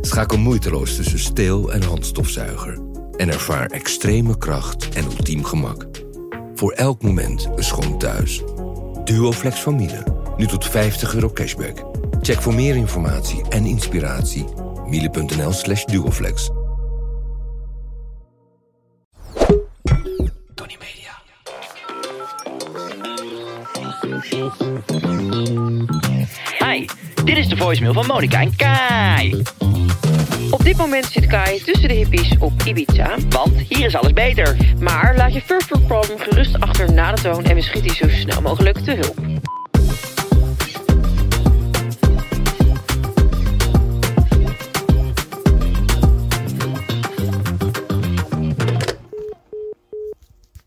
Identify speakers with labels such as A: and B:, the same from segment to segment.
A: Schakel moeiteloos tussen steel- en handstofzuiger en ervaar extreme kracht en ultiem gemak. Voor elk moment een schoon thuis. Duoflex van Miele, nu tot 50 euro cashback. Check voor meer informatie en inspiratie miele.nl slash duoflex.
B: Tony Media.
C: Hi, dit is de voicemail van Monica en Kai.
D: Op dit moment zit Kai tussen de hippies op Ibiza.
C: Want hier is alles beter.
D: Maar laat je furfur problem gerust achter na de toon en we schieten je zo snel mogelijk te hulp.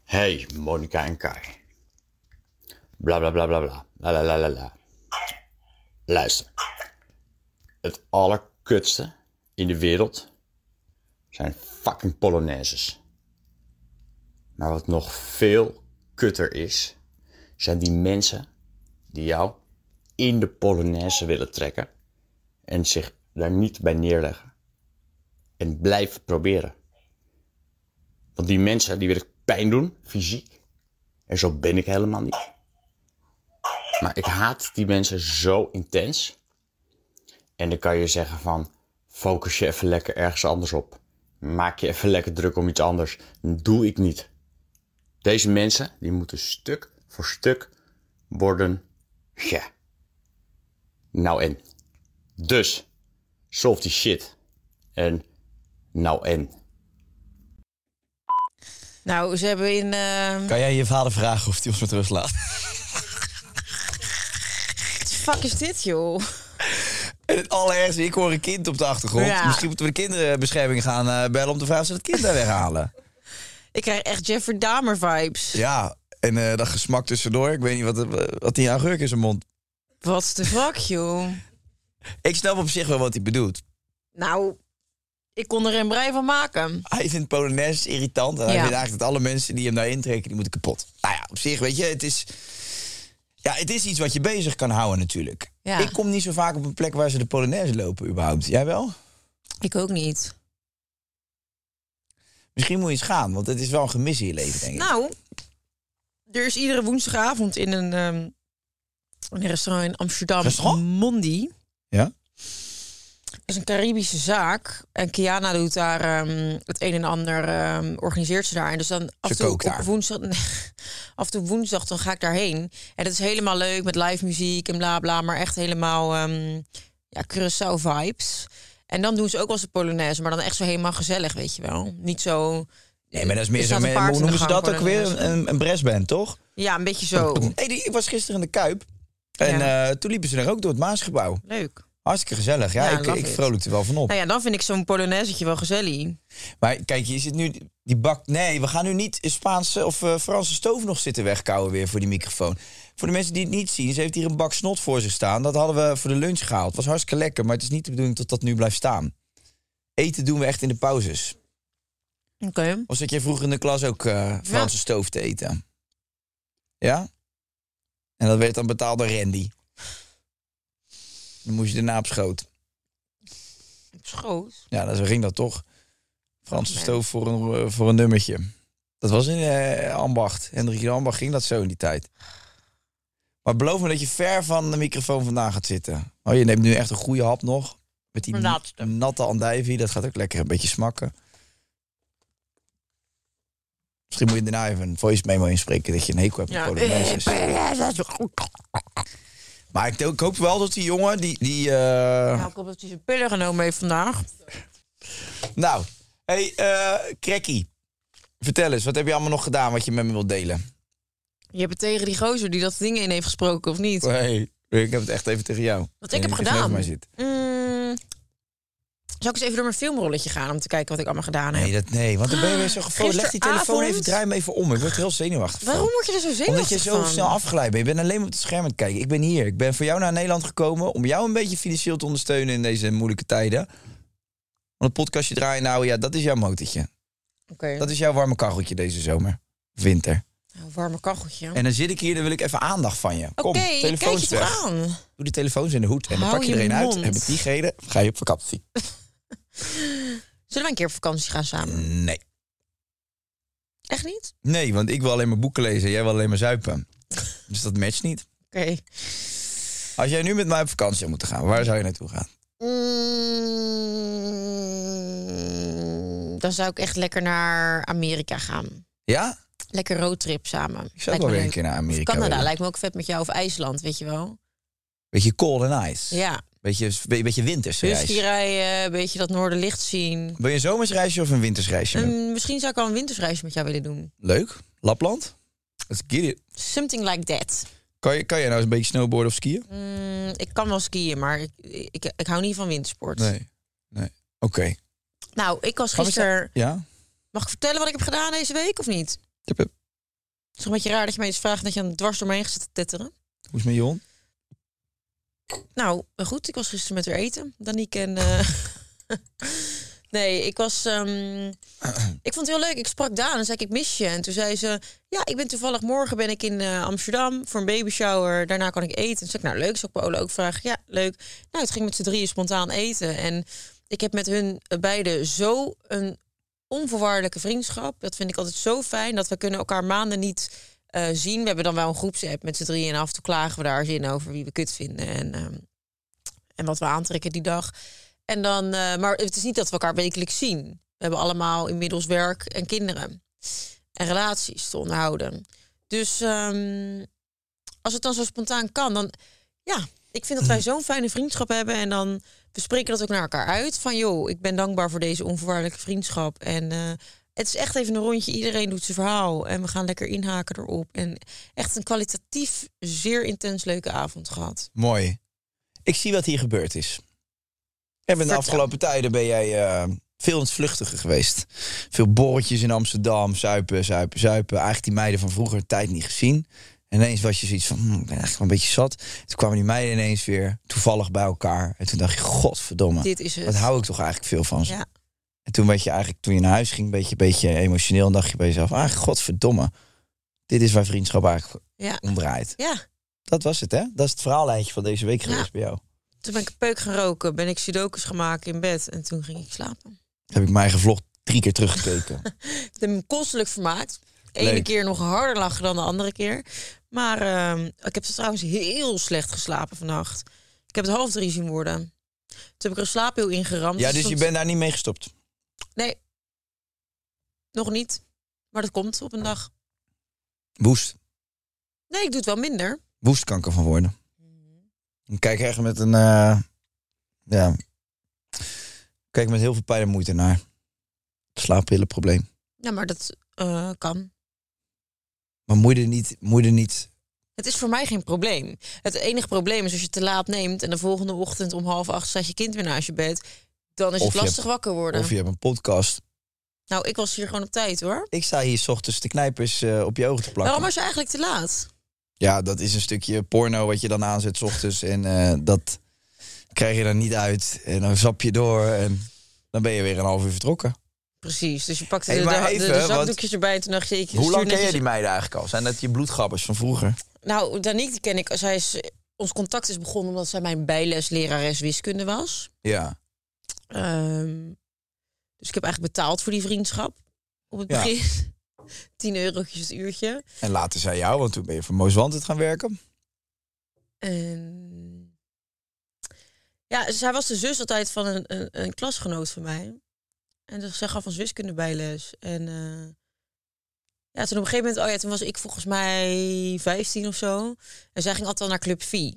E: Hey, Monica en Kai. Bla bla bla bla bla. La la la la la. Luister. Het allerkutste in de wereld zijn fucking Polonaises. Maar wat nog veel kutter is, zijn die mensen die jou in de Polonaise willen trekken en zich daar niet bij neerleggen. En blijven proberen. Want die mensen die willen pijn doen, fysiek. En zo ben ik helemaal niet. Maar ik haat die mensen zo intens. En dan kan je zeggen van, focus je even lekker ergens anders op. Maak je even lekker druk om iets anders. Dat doe ik niet. Deze mensen, die moeten stuk voor stuk worden ja. Nou en. Dus, solve die shit. En nou en.
F: Nou, ze hebben in... eh,
G: Kan jij je vader vragen of hij ons met rust laat?
F: What the fuck is dit, joh?
G: En het allerergste, ik hoor een kind op de achtergrond.
F: Ja.
G: Misschien moeten we de kinderbescherming gaan eh, bellen om te vragen of ze het kind daar weghalen.
F: Ik krijg echt Jeffrey Dahmer vibes.
G: Ja, en eh, dat gesmak tussendoor. Ik weet niet wat, het- wat die aan geur in zijn mond.
F: Wat de fuck, joh?
G: Ik snap op zich wel wat hij bedoelt.
F: Nou, ik kon er een brei van maken.
G: Hij vindt Polonaise irritant. En hij
F: Ja.
G: vindt eigenlijk dat alle mensen die hem daar intrekken, die moeten kapot. Nou ja, op zich, weet je, het is... Ja, het is iets wat je bezig kan houden natuurlijk.
F: Ja.
G: Ik kom niet zo vaak op een plek waar ze de Polonaise lopen überhaupt. Jij wel?
F: Ik ook niet.
G: Misschien moet je eens gaan, want het is wel een gemis in je leven, denk ik.
F: Nou, er is iedere woensdagavond in een, ehm, een restaurant in Amsterdam,
G: Restaurant?
F: Mondi.
G: Ja?
F: Dat is een Caribische zaak. En Kiana doet daar ehm, het een en ander, ehm, organiseert ze daar. En dus dan af en toe
G: kookt
F: op
G: daar.
F: woensdag, af en toe woensdag dan ga ik daarheen. En dat is helemaal leuk met live muziek en bla bla, maar echt helemaal ehm, ja, Curaçao vibes. En dan doen ze ook wel eens de Polonaise, maar dan echt zo helemaal gezellig, weet je wel. Niet zo...
G: nee, maar dat is meer
F: Er
G: zo...
F: staat een
G: Hoe
F: paard in de
G: noemen ze
F: gang
G: dat ook
F: voor de
G: weer?
F: mensen. Oh.
G: Een, een brassband, toch?
F: Ja, een beetje zo.
G: Hey, die, ik was gisteren in de Kuip. En eh, toen liepen ze er ook door het Maasgebouw.
F: Leuk.
G: Hartstikke gezellig. Ja,
F: Ja,
G: ik,
F: love
G: ik
F: it.
G: vrolijk er wel van op.
F: Nou ja, dan vind ik zo'n Polonaisetje wel gezellig.
G: Maar kijk, je zit nu die bak. Nee, we gaan nu niet Spaanse of eh, Franse stoof nog zitten wegkouwen weer voor die microfoon. Voor de mensen die het niet zien, ze heeft hier een bak snot voor zich staan. Dat hadden we voor de lunch gehaald. Was hartstikke lekker, maar het is niet de bedoeling dat dat nu blijft staan. Eten doen we echt in de pauzes.
F: Oké.
G: Of zat jij vroeger in de klas ook eh, Franse stoof te eten? Ja? En dat werd dan betaald door Randy. Dan moest je daarna op schoot.
F: Schoot.
G: Ja, dat- zo ging dat toch. Franse
F: Oké.
G: stoof voor een, eh, voor een nummertje. Dat was in eh, Ambacht. Hendrik de Ambacht ging dat zo in die tijd. Maar beloof me dat je ver van de microfoon vandaan gaat zitten. Oh, je neemt nu echt een goede hap nog. Met die
F: Laatste.
G: natte andijvie. Dat gaat ook lekker een beetje smakken. Misschien moet je daarna even een voice memo inspreken dat je een hekel hebt met
F: Ja.
G: Polonaises. Maar ik, ik hoop wel dat die jongen, die... die eh,
F: Nou, ik hoop dat hij zijn pillen genomen heeft vandaag.
G: Nou, hey, eh Krekkie. Vertel eens, wat heb je allemaal nog gedaan wat je met me wilt delen?
F: Je hebt het tegen die gozer die dat ding in heeft gesproken, of niet?
G: Hey, ik heb het echt even tegen jou.
F: Wat
G: En
F: ik heb
G: je tegenover
F: gedaan?
G: mij zit.
F: Mm, zal ik eens even door mijn filmrolletje gaan om te kijken wat ik allemaal gedaan heb?
G: Nee, dat, nee, want dan ben je weer zo gevoelig. Leg die telefoon
F: Gisteravond-
G: even, draai hem even om. Ik word er heel zenuwachtig van.
F: Waarom word je er zo zenuwachtig
G: Omdat je zo
F: van?
G: snel afgeleid bent. Je bent alleen maar op het scherm aan het kijken. Ik ben hier. Ik ben voor jou naar Nederland gekomen om jou een beetje financieel te ondersteunen in deze moeilijke tijden. Want het podcastje draaien, nou ja, dat is jouw motortje.
F: Oké,
G: Dat is jouw warme kacheltje deze zomer. Winter.
F: een warme kacheltje.
G: En dan zit ik hier, dan wil ik even aandacht van je. Kom,
F: Oké, ik kijk
G: telefoons
F: je
G: weg.
F: toch aan?
G: Doe de telefoons in de hoed en dan
F: Hou
G: pak je
F: je
G: er een uit.
F: mond.
G: Heb ik die gegeten, ga je op vakantie.
F: Zullen wij een keer op vakantie gaan samen?
G: Nee.
F: Echt niet?
G: Nee, want ik wil alleen maar boeken lezen. Jij wil alleen maar zuipen. Dus dat matcht niet.
F: Oké.
G: Als jij nu met mij op vakantie zou moeten gaan, waar zou je naartoe gaan?
F: Mm, dan zou ik echt lekker naar Amerika gaan.
G: Ja?
F: Lekker roadtrip samen.
G: Ik zou ook wel weer een keer naar
F: Of
G: Amerika
F: Canada
G: willen.
F: lijkt me ook vet met jou. Of IJsland, weet je wel.
G: Beetje cold en ice.
F: Ja,
G: Beetje, be- beetje wintersreis.
F: husky rijden, een beetje dat noorderlicht zien.
G: Wil je een zomersreisje of een wintersreisje? doen?
F: En misschien zou ik wel een wintersreisje met jou willen doen.
G: Leuk. Lapland? Let's get it.
F: Something like that.
G: Kan, je, kan jij nou eens een beetje snowboarden of skiën?
F: Mm, ik kan wel skiën, maar ik, ik, ik hou niet van wintersport.
G: Nee. Oké.
F: Nou, ik was
G: Gaan we
F: gisteren...
G: Ja?
F: Mag ik vertellen wat ik heb gedaan deze week of niet? Het
G: Tip, tip.
F: is toch een beetje raar dat je mij eens vraagt en dat je aan dwars door me heen gaat zitten tetteren.
G: Hoe is het met je hond?
F: Nou, eh, goed, ik was gisteren met haar eten, Danique en... eh, nee, ik was... ehm, ik vond het heel leuk. Ik sprak Daan en zei ik, ik mis je. En toen zei ze, ja, ik ben toevallig morgen ben ik in eh, Amsterdam voor een babyshower. Daarna kan ik eten. En toen zei ik, nou leuk, zou ik Paolo ook vragen. Ja, leuk. Nou, het ging met z'n drieën spontaan eten. En ik heb met hun eh, beiden zo een onvoorwaardelijke vriendschap. Dat vind ik altijd zo fijn, dat we kunnen elkaar maanden niet eh, zien. We hebben dan wel een groepsapp met z'n drieën. En af en toe klagen we daar eens in over wie we kut vinden. En, ehm, en wat we aantrekken die dag. En dan, eh, maar het is niet dat we elkaar wekelijks zien. We hebben allemaal inmiddels werk en kinderen en relaties te onderhouden. Dus ehm, als het dan zo spontaan kan, dan ja, ik vind
G: Hm.
F: dat wij zo'n fijne vriendschap hebben. En dan we spreken dat ook naar elkaar uit. Van joh, ik ben dankbaar voor deze onvoorwaardelijke vriendschap. En eh, het is echt even een rondje. Iedereen doet zijn verhaal. En we gaan lekker inhaken erop. En echt een kwalitatief zeer intens leuke avond gehad.
G: Mooi. Ik zie wat hier gebeurd is. En in de
F: Vertel.
G: afgelopen tijden ben jij eh, veel aan het vluchtigen geweest. Veel borretjes in Amsterdam, zuipen, zuipen, zuipen. Eigenlijk die meiden van vroeger een tijd niet gezien. En ineens was je zoiets van, hm, ik ben eigenlijk wel een beetje zat. Toen kwamen die meiden ineens weer toevallig bij elkaar. En toen dacht je, godverdomme,
F: Dit is het.
G: wat hou ik toch eigenlijk veel van ze.
F: Ja.
G: En toen werd je eigenlijk, toen je naar huis ging, een beetje, beetje emotioneel. En dacht je bij jezelf, ah, godverdomme. Dit is waar vriendschap eigenlijk
F: Ja.
G: om draait.
F: ja,
G: Dat was het, hè? Dat is het verhaallijntje van deze week geweest
F: Ja.
G: bij jou.
F: toen ben ik een peuk gaan roken. Ben ik sudokus gemaakt in bed. En toen ging ik slapen.
G: heb ik mijn gevlogd drie keer teruggekeken.
F: Ik heb me kostelijk vermaakt. De ene
G: Leuk.
F: keer nog harder lachen dan de andere keer. Maar ehm, ik heb trouwens heel slecht geslapen vannacht. Ik heb het half drie zien worden. Toen heb ik er een slaapheel ingeramd.
G: ja,
F: Er
G: dus je
F: stond-
G: bent daar niet mee gestopt.
F: Nee, nog niet. Maar dat komt op een dag.
G: Woest.
F: Nee, ik doe het wel minder.
G: Woest kan ik ervan worden. Ik kijk echt met een... eh, ja. Ik kijk met heel veel pijn en moeite naar. Slaappillenprobleem.
F: Ja, maar dat eh, kan.
G: Maar moeite niet... Moeite niet
F: Het is voor mij geen probleem. Het enige probleem is als je te laat neemt en de volgende ochtend om half acht staat je kind weer naast je bed. Dan is
G: Of
F: het
G: je
F: lastig
G: hebt-
F: wakker worden.
G: of je hebt een podcast.
F: Nou, ik was hier gewoon op tijd hoor.
G: Ik sta hier s ochtends de knijpers eh, op je ogen te plakken.
F: Waarom was je eigenlijk te laat?
G: Ja, dat is een stukje porno wat je dan aanzet s ochtends. En eh, dat krijg je dan niet uit. En dan zap je door. En dan ben je weer een half uur vertrokken.
F: Precies, dus je pakte
G: Hey,
F: de,
G: maar
F: de- de-
G: even,
F: de
G: want-
F: zakdoekjes erbij en toen dacht je... Ik
G: Hoe
F: stuur
G: lang ken
F: netjes-
G: jij die meiden eigenlijk al? Zijn dat je bloedgrabbers van vroeger?
F: Nou, Danique die ken ik. Zij is, ons contact is begonnen omdat zij mijn bijleslerares wiskunde was.
G: Ja.
F: Ehm, dus ik heb eigenlijk betaald voor die vriendschap op het
G: Ja.
F: begin. 10 eurotjes het uurtje.
G: En later zij jou, want toen ben je voor Moos Wanted gaan werken.
F: En... Ehm, Ja, zij was de zus altijd van een, een, een klasgenoot van mij. En dus, zij gaf ons wiskunde bijles. En eh, ja, toen op een gegeven moment, oh ja, toen was ik volgens mij 15 of zo. En zij ging altijd al naar Club V.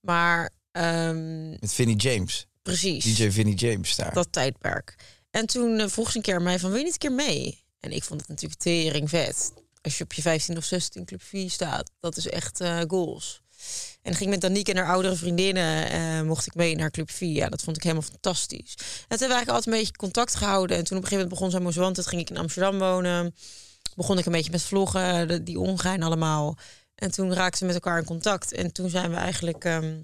F: Maar ehm,
G: Met Vinnie James.
F: precies,
G: DJ Vinnie James daar.
F: dat tijdperk. En toen eh, vroeg ze een keer aan mij van, wil je niet een keer mee? En ik vond het natuurlijk tering vet. Als je op je 15 of 16 Club 4 staat, dat is echt eh, goals. En ging met Danique en haar oudere vriendinnen, eh, mocht ik mee naar Club 4. Ja, dat vond ik helemaal fantastisch. En toen hebben we eigenlijk altijd een beetje contact gehouden. En toen op een gegeven moment begon ze aan Mozambique. Toen ging ik in Amsterdam wonen. Begon ik een beetje met vloggen, de- die ongein allemaal. En toen raakten we met elkaar in contact. En toen zijn we eigenlijk ehm,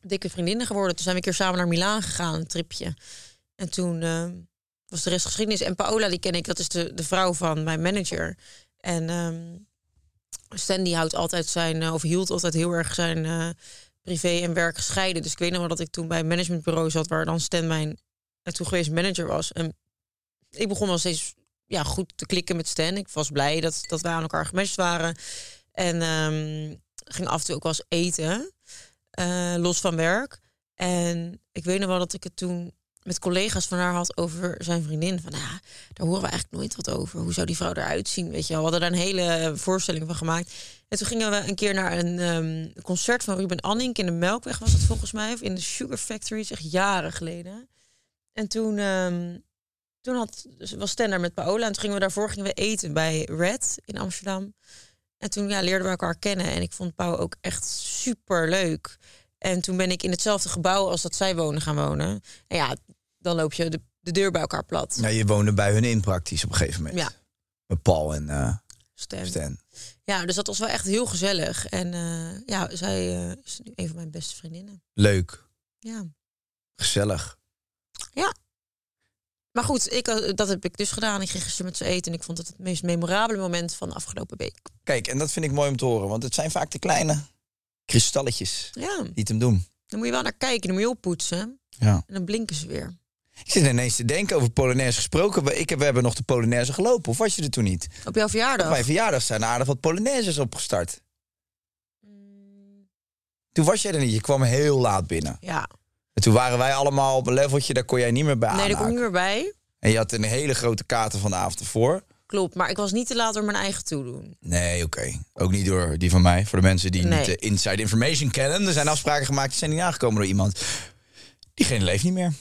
F: dikke vriendinnen geworden. Toen zijn we een keer samen naar Milaan gegaan, een tripje. En toen ehm, was de rest geschiedenis. En Paola, die ken ik, dat is de, de vrouw van mijn manager. En ehm Stan die houdt altijd zijn, eh, of hield altijd heel erg zijn eh, privé en werk gescheiden. Dus ik weet nog wel dat ik toen bij een managementbureau zat, waar dan Stan mijn eh, toegewezen manager was. En ik begon wel steeds ja, goed te klikken met Stan. Ik was blij dat, dat wij aan elkaar gematcht waren. En ehm, ging af en toe ook wel eens eten, eh, los van werk. En ik weet nog wel dat ik het toen met collega's van haar had over zijn vriendin. Van, nou ja, daar horen we eigenlijk nooit wat over. Hoe zou die vrouw eruit zien? Weet je wel. We hadden daar een hele eh, voorstelling van gemaakt. En toen gingen we een keer naar een ehm, concert van Ruben Annink in de Melkweg was het volgens mij. Of in de Sugar Factory, zeg jaren geleden. En toen, ehm, toen had, dus was Stan daar met Paola. En toen gingen we daarvoor gingen we eten bij Red in Amsterdam. En toen ja, leerden we elkaar kennen. En ik vond Pau ook echt super leuk. En toen ben ik in hetzelfde gebouw als dat zij wonen gaan wonen. En ja, dan loop je de, de deur bij elkaar plat.
G: Ja, je woonde bij hun in praktisch op een gegeven moment.
F: Ja.
G: Met Paul en eh,
F: Stan.
G: Stan.
F: Ja, dus dat was wel echt heel gezellig. En eh, ja, zij eh, is nu een van mijn beste vriendinnen.
G: Leuk,
F: Ja.
G: gezellig.
F: Maar goed, ik, eh, dat heb ik dus gedaan. Ik ging gisteren met ze eten en ik vond het het meest memorabele moment van de afgelopen week.
G: Kijk, en dat vind ik mooi om te horen, want het zijn vaak de kleine kristalletjes
F: Ja,
G: die het hem doen.
F: dan moet je wel naar kijken, dan moet je oppoetsen.
G: Ja.
F: En dan blinken ze weer.
G: Ik zit ineens te denken over Polonaise gesproken. We, ik heb, we hebben nog de Polonaise gelopen, of was je er toen niet?
F: Op jouw
G: Op
F: verjaardag.
G: mijn verjaardag zijn er aardig wat Polonaises opgestart. Toen was jij er niet, je kwam heel laat binnen.
F: Ja,
G: En toen waren wij allemaal op een leveltje, daar kon jij niet meer bij
F: nee, daar kom ik
G: aanhaken.
F: niet meer bij.
G: En je had een hele grote kater van de avond ervoor.
F: Klopt, maar ik was niet te laat door mijn eigen toedoen.
G: Nee, oké. Ook niet door die van mij. Voor de mensen die
F: Nee.
G: niet de inside information kennen. Er zijn afspraken gemaakt, die zijn niet aangekomen door iemand. Diegene leeft niet meer.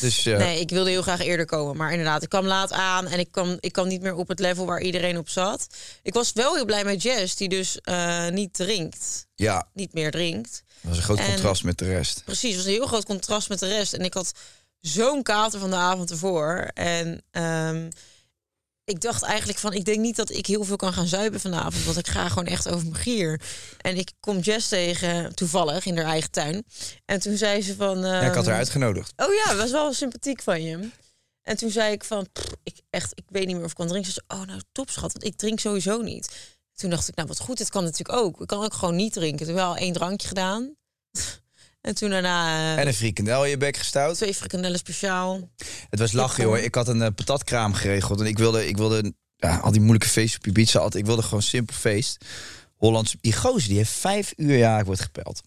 G: dus eh,
F: Nee, ik wilde heel graag eerder komen. Maar inderdaad, ik kwam laat aan en ik kwam, ik kwam niet meer op het level waar iedereen op zat. Ik was wel heel blij met Jess, die dus eh, niet drinkt.
G: ja, dat
F: Niet meer drinkt.
G: was een groot
F: En-
G: contrast met de rest.
F: Precies, het was een heel groot contrast met de rest. En ik had zo'n kater van de avond ervoor. En ehm, ik dacht eigenlijk van, ik denk niet dat ik heel veel kan gaan zuipen vanavond. Want ik ga gewoon echt over mijn gier. En ik kom Jess tegen, toevallig, in haar eigen tuin. En toen zei ze van...
G: Ja, ik had haar
F: ehm,
G: uitgenodigd.
F: Oh ja, was wel sympathiek van je. En toen zei ik van, "Pff, ik, echt, ik weet niet meer of ik kan drinken. Ze zei, oh nou top schat, want ik drink sowieso niet. Toen dacht ik, nou wat goed, dit kan natuurlijk ook. Ik kan ook gewoon niet drinken. Toen wel één drankje gedaan. en toen daarna eh,
G: En een frikandel in je bek gestout.
F: twee frikandellen speciaal.
G: Het was lachen,
F: Ik kon-
G: joh. Ik had een eh, patatkraam geregeld. En ik wilde, ik wilde ja, al die moeilijke feesten op Ibiza. Altijd, ik wilde gewoon simpel feest. Hollands. Die gozer, die heeft vijf uur... Ja, ik word gepeld.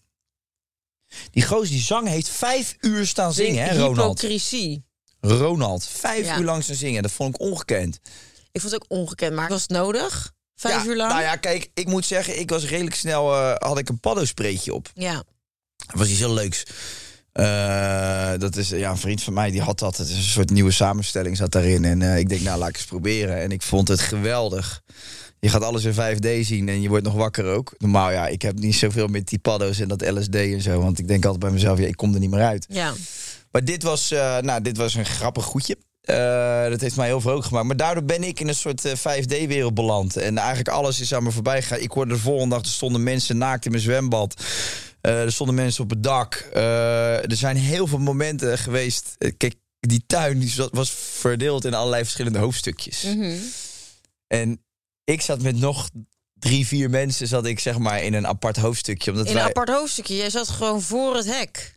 G: Die gozer, die zang, heeft vijf uur staan zingen, hè, Ronald?
F: Hypocrisie.
G: Ronald. Vijf
F: Ja.
G: uur lang zijn zingen. Dat vond ik ongekend.
F: Ik vond het ook ongekend, maar was het nodig? Vijf
G: Ja,
F: uur lang?
G: Nou ja, kijk, ik moet zeggen, ik was redelijk snel... eh, had ik een paddospreetje op.
F: Ja.
G: Dat was iets heel leuks. Eh, dat is ja, een vriend van mij die had dat. Het is een soort nieuwe samenstelling zat daarin. En eh, ik denk, nou laat ik eens proberen. En ik vond het geweldig. Je gaat alles in 5D zien en je wordt nog wakker ook. Normaal ja, ik heb niet zoveel met die paddo's en dat LSD en zo. Want ik denk altijd bij mezelf, ja, ik kom er niet meer uit.
F: ja.
G: Maar dit was, eh, nou, dit was een grappig goedje. Eh, dat heeft mij heel vrolijk gemaakt. Maar daardoor ben ik in een soort eh, 5D-wereld beland. En eigenlijk alles is aan me voorbij gegaan. Ik hoorde de volgende dag, er stonden mensen naakt in mijn zwembad. Eh, er stonden mensen op het dak. Eh, er zijn heel veel momenten geweest. Eh, kijk, die tuin die zat- was verdeeld in allerlei verschillende hoofdstukjes. En ik zat met nog drie, vier mensen zat ik zeg maar in een apart hoofdstukje. Omdat
F: In een
G: wij,
F: apart hoofdstukje. Jij zat gewoon voor het hek.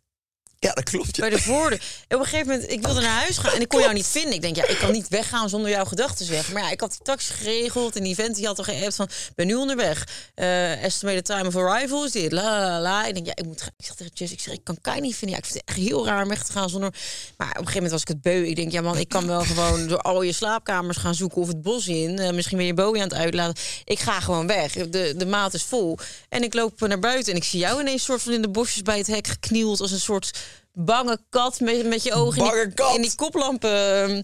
G: Ja, dat klopt. ja.
F: Bij de voordeur. Op een gegeven moment, ik wilde naar huis gaan en ik kon jou niet vinden. Ik denk, ja, ik kan niet weggaan zonder jouw gedachten zeggen. Maar ja, ik had die taxi geregeld en die vent die had toch geappt van, ben nu onderweg. Eh estimated time of arrival is dit, la la la, la. Ik denk, ja, ik moet gaan. Ik zeg tegen Jess, ik zeg, ik kan Kai niet vinden. Ja, ik vind het echt heel raar om weg te gaan zonder... Maar op een gegeven moment was ik het beu. Ik denk, ja man, ik kan wel gewoon door al je slaapkamers gaan zoeken of het bos in. Eh, misschien ben je Bowie aan het uitlaten. Ik ga gewoon weg. De, de maat is vol. En ik loop naar buiten en ik zie jou ineens soort van in de bosjes bij het hek geknield als een soort bange kat met, met je ogen in,
G: Bange
F: die,
G: kat.
F: in die koplampen. ehm,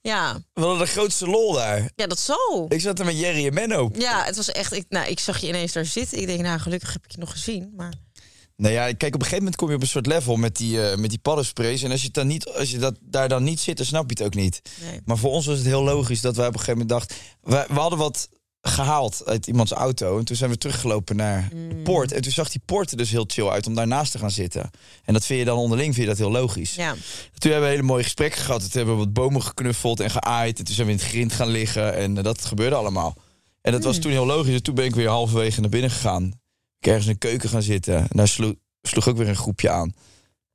F: Ja,
G: We hadden de grootste lol daar.
F: ja dat zal.
G: Ik zat er met Jerry en Menno.
F: Ja, het was echt. Ik, nou, ik zag je ineens daar zitten. Ik denk, nou, gelukkig heb ik je nog gezien. Maar
G: Nou ja, kijk, op een gegeven moment kom je op een soort level met die, eh, met die paddensprays. En als je, het dan niet, als je dat, daar dan niet zit, dan snap je het ook niet.
F: Nee.
G: Maar voor ons was het heel logisch dat wij op een gegeven moment dachten... We, we hadden wat gehaald uit iemands auto. En toen zijn we teruggelopen naar
F: Mm.
G: de poort. En toen zag die poort er dus heel chill uit om daarnaast te gaan zitten. En dat vind je dan onderling vind je dat heel logisch.
F: ja,
G: Toen hebben we hele mooie gesprekken gehad. Toen hebben we wat bomen geknuffeld en geaaid. En toen zijn we in het grind gaan liggen. En eh, dat gebeurde allemaal. En dat
F: Hmm.
G: was toen heel logisch. En toen ben ik weer halverwege naar binnen gegaan. Ik ergens in de keuken gaan zitten. En daar slo- sloeg ook weer een groepje aan.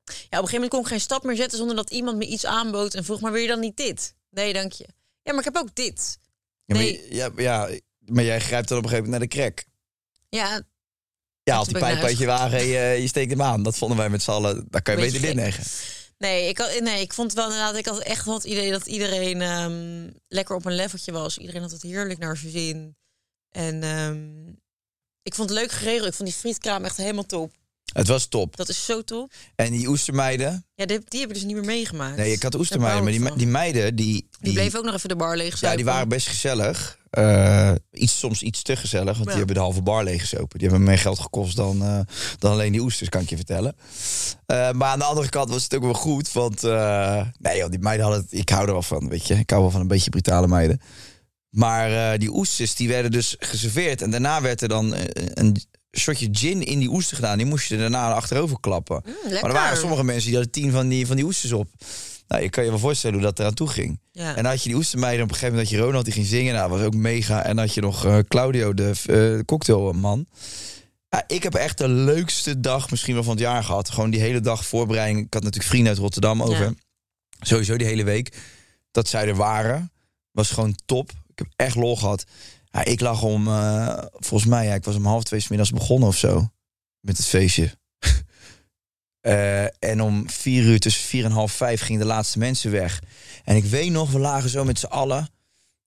F: Ja, op een gegeven moment kon ik geen stap meer zetten zonder dat iemand me iets aanbood en vroeg: maar wil je dan niet dit? Nee, dank je. Ja, maar ik heb ook dit.
G: Ja, maar,
F: Nee.
G: je- ja, ja, maar jij grijpt dan op een gegeven moment naar de crack.
F: Ja,
G: Ja, haalt die
F: ben ik
G: pijp
F: naar
G: uit je wagen en je, je steekt hem aan. Dat vonden wij met z'n allen. Daar kan je
F: Beetje
G: beter dit
F: gek.
G: negen.
F: nee, ik, had, nee, ik vond het wel inderdaad. Ik had echt wel het idee dat iedereen ehm, lekker op een leveltje was. Iedereen had het heerlijk naar zijn zin. En ehm, ik vond het leuk geregeld. Ik vond die frietkraam echt helemaal top.
G: Het was top.
F: Dat is zo top.
G: En die oestermeiden.
F: Ja, die, die hebben we dus niet meer meegemaakt.
G: Nee, ik had
F: Daar
G: oestermeiden. Maar
F: bouw ik
G: die, me-
F: van.
G: die meiden, die, die,
F: Die bleef ook nog even de bar leeg.
G: Ja, die waren best gezellig. Eh, iets, soms iets te gezellig, want die
F: Ja.
G: hebben de halve bar leeggezopen. Die hebben meer geld gekost dan, eh, dan alleen die oesters, kan ik je vertellen. Eh, maar aan de andere kant was het ook wel goed, want... eh, nee joh, die meiden hadden het... Ik hou er wel van, weet je. Ik hou wel van een beetje brutale meiden. Maar eh, die oesters, die werden dus geserveerd. En daarna werd er dan eh, een shotje gin in die oester gedaan. Die moest je er daarna achterover klappen. maar er
F: Mm, lekker.
G: waren sommige mensen die hadden tien van die, van die oesters op. Nou, je kan je wel voorstellen hoe dat eraan toe ging.
F: Ja.
G: En dan had je die oestermeiden op een gegeven moment dat je Ronald die ging zingen. Nou, dat was ook mega. En dan had je nog eh, Claudio, de eh, cocktailman. Ja, ik heb echt de leukste dag misschien wel van het jaar gehad. Gewoon die hele dag voorbereiding. Ik had natuurlijk vrienden uit Rotterdam over.
F: Ja.
G: Sowieso die hele week. Dat zij er waren, was gewoon top. Ik heb echt lol gehad. Ja, ik lag om, eh, volgens mij, ja, ik was om half twee 's middags begonnen of zo. Met het feestje. Eh, en om vier uur tussen vier en half vijf gingen de laatste mensen weg. En ik weet nog, we lagen zo met z'n allen.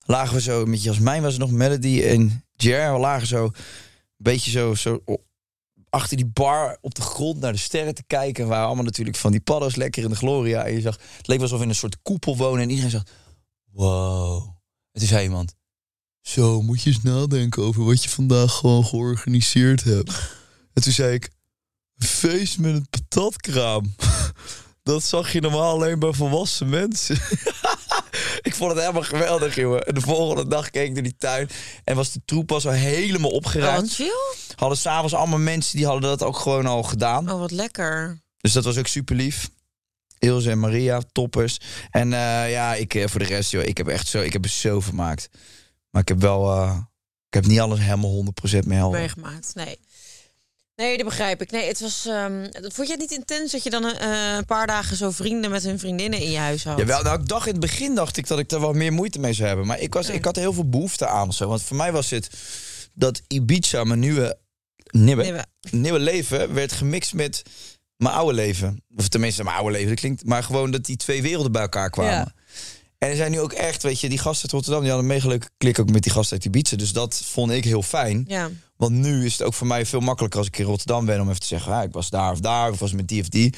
G: Lagen we zo, met Jasmijn was het nog, Melody en Jer. We lagen zo, een beetje zo, zo o- achter die bar op de grond naar de sterren te kijken. We waren allemaal natuurlijk van die paddo's lekker in de gloria. En je zag, het leek alsof we in een soort koepel wonen. En iedereen zag, wow. En toen zei iemand, zo moet je eens nadenken over wat je vandaag gewoon georganiseerd hebt. En toen zei ik, een feest met een patatkraam. Dat zag je normaal alleen bij volwassen mensen. ik vond het helemaal geweldig, jongen. En de volgende dag keek ik door die tuin en was de troep al zo helemaal
F: Oh,
G: opgeruimd.
F: wat chill.
G: Hadden s'avonds allemaal mensen die hadden dat ook gewoon al gedaan.
F: Oh, wat lekker.
G: Dus dat was ook super lief. Ilse en Maria, toppers. En eh, ja, ik, eh, voor de rest, joh, ik heb echt zo, ik heb me zo vermaakt. Maar ik heb wel, eh, ik heb niet alles helemaal 100% mee helder.
F: Meegemaakt. Nee. Nee, dat begrijp ik. Nee, het was. ehm, vond je het niet intens dat je dan eh, een paar dagen zo vrienden met hun vriendinnen in je huis had?
G: Jawel, nou, ik dacht in het begin dacht ik dat ik daar wel meer moeite mee zou hebben. Maar ik, was, ik had heel veel behoefte aan of zo. Want voor mij was het dat Ibiza, mijn nieuwe, nieuwe,
F: Nieuwe.
G: nieuwe leven, werd gemixt met mijn oude leven. Of tenminste, mijn oude leven, dat klinkt. Maar gewoon dat die twee werelden bij elkaar kwamen.
F: Ja.
G: En er zijn nu ook echt, weet je, die gasten uit Rotterdam, die hadden een mega leuke klik ook met die gasten uit Ibiza. Dus dat vond ik heel fijn.
F: Ja.
G: Want nu is het ook voor mij veel makkelijker als ik in Rotterdam ben om even te zeggen, ah, ik was daar of daar, of was met die of die.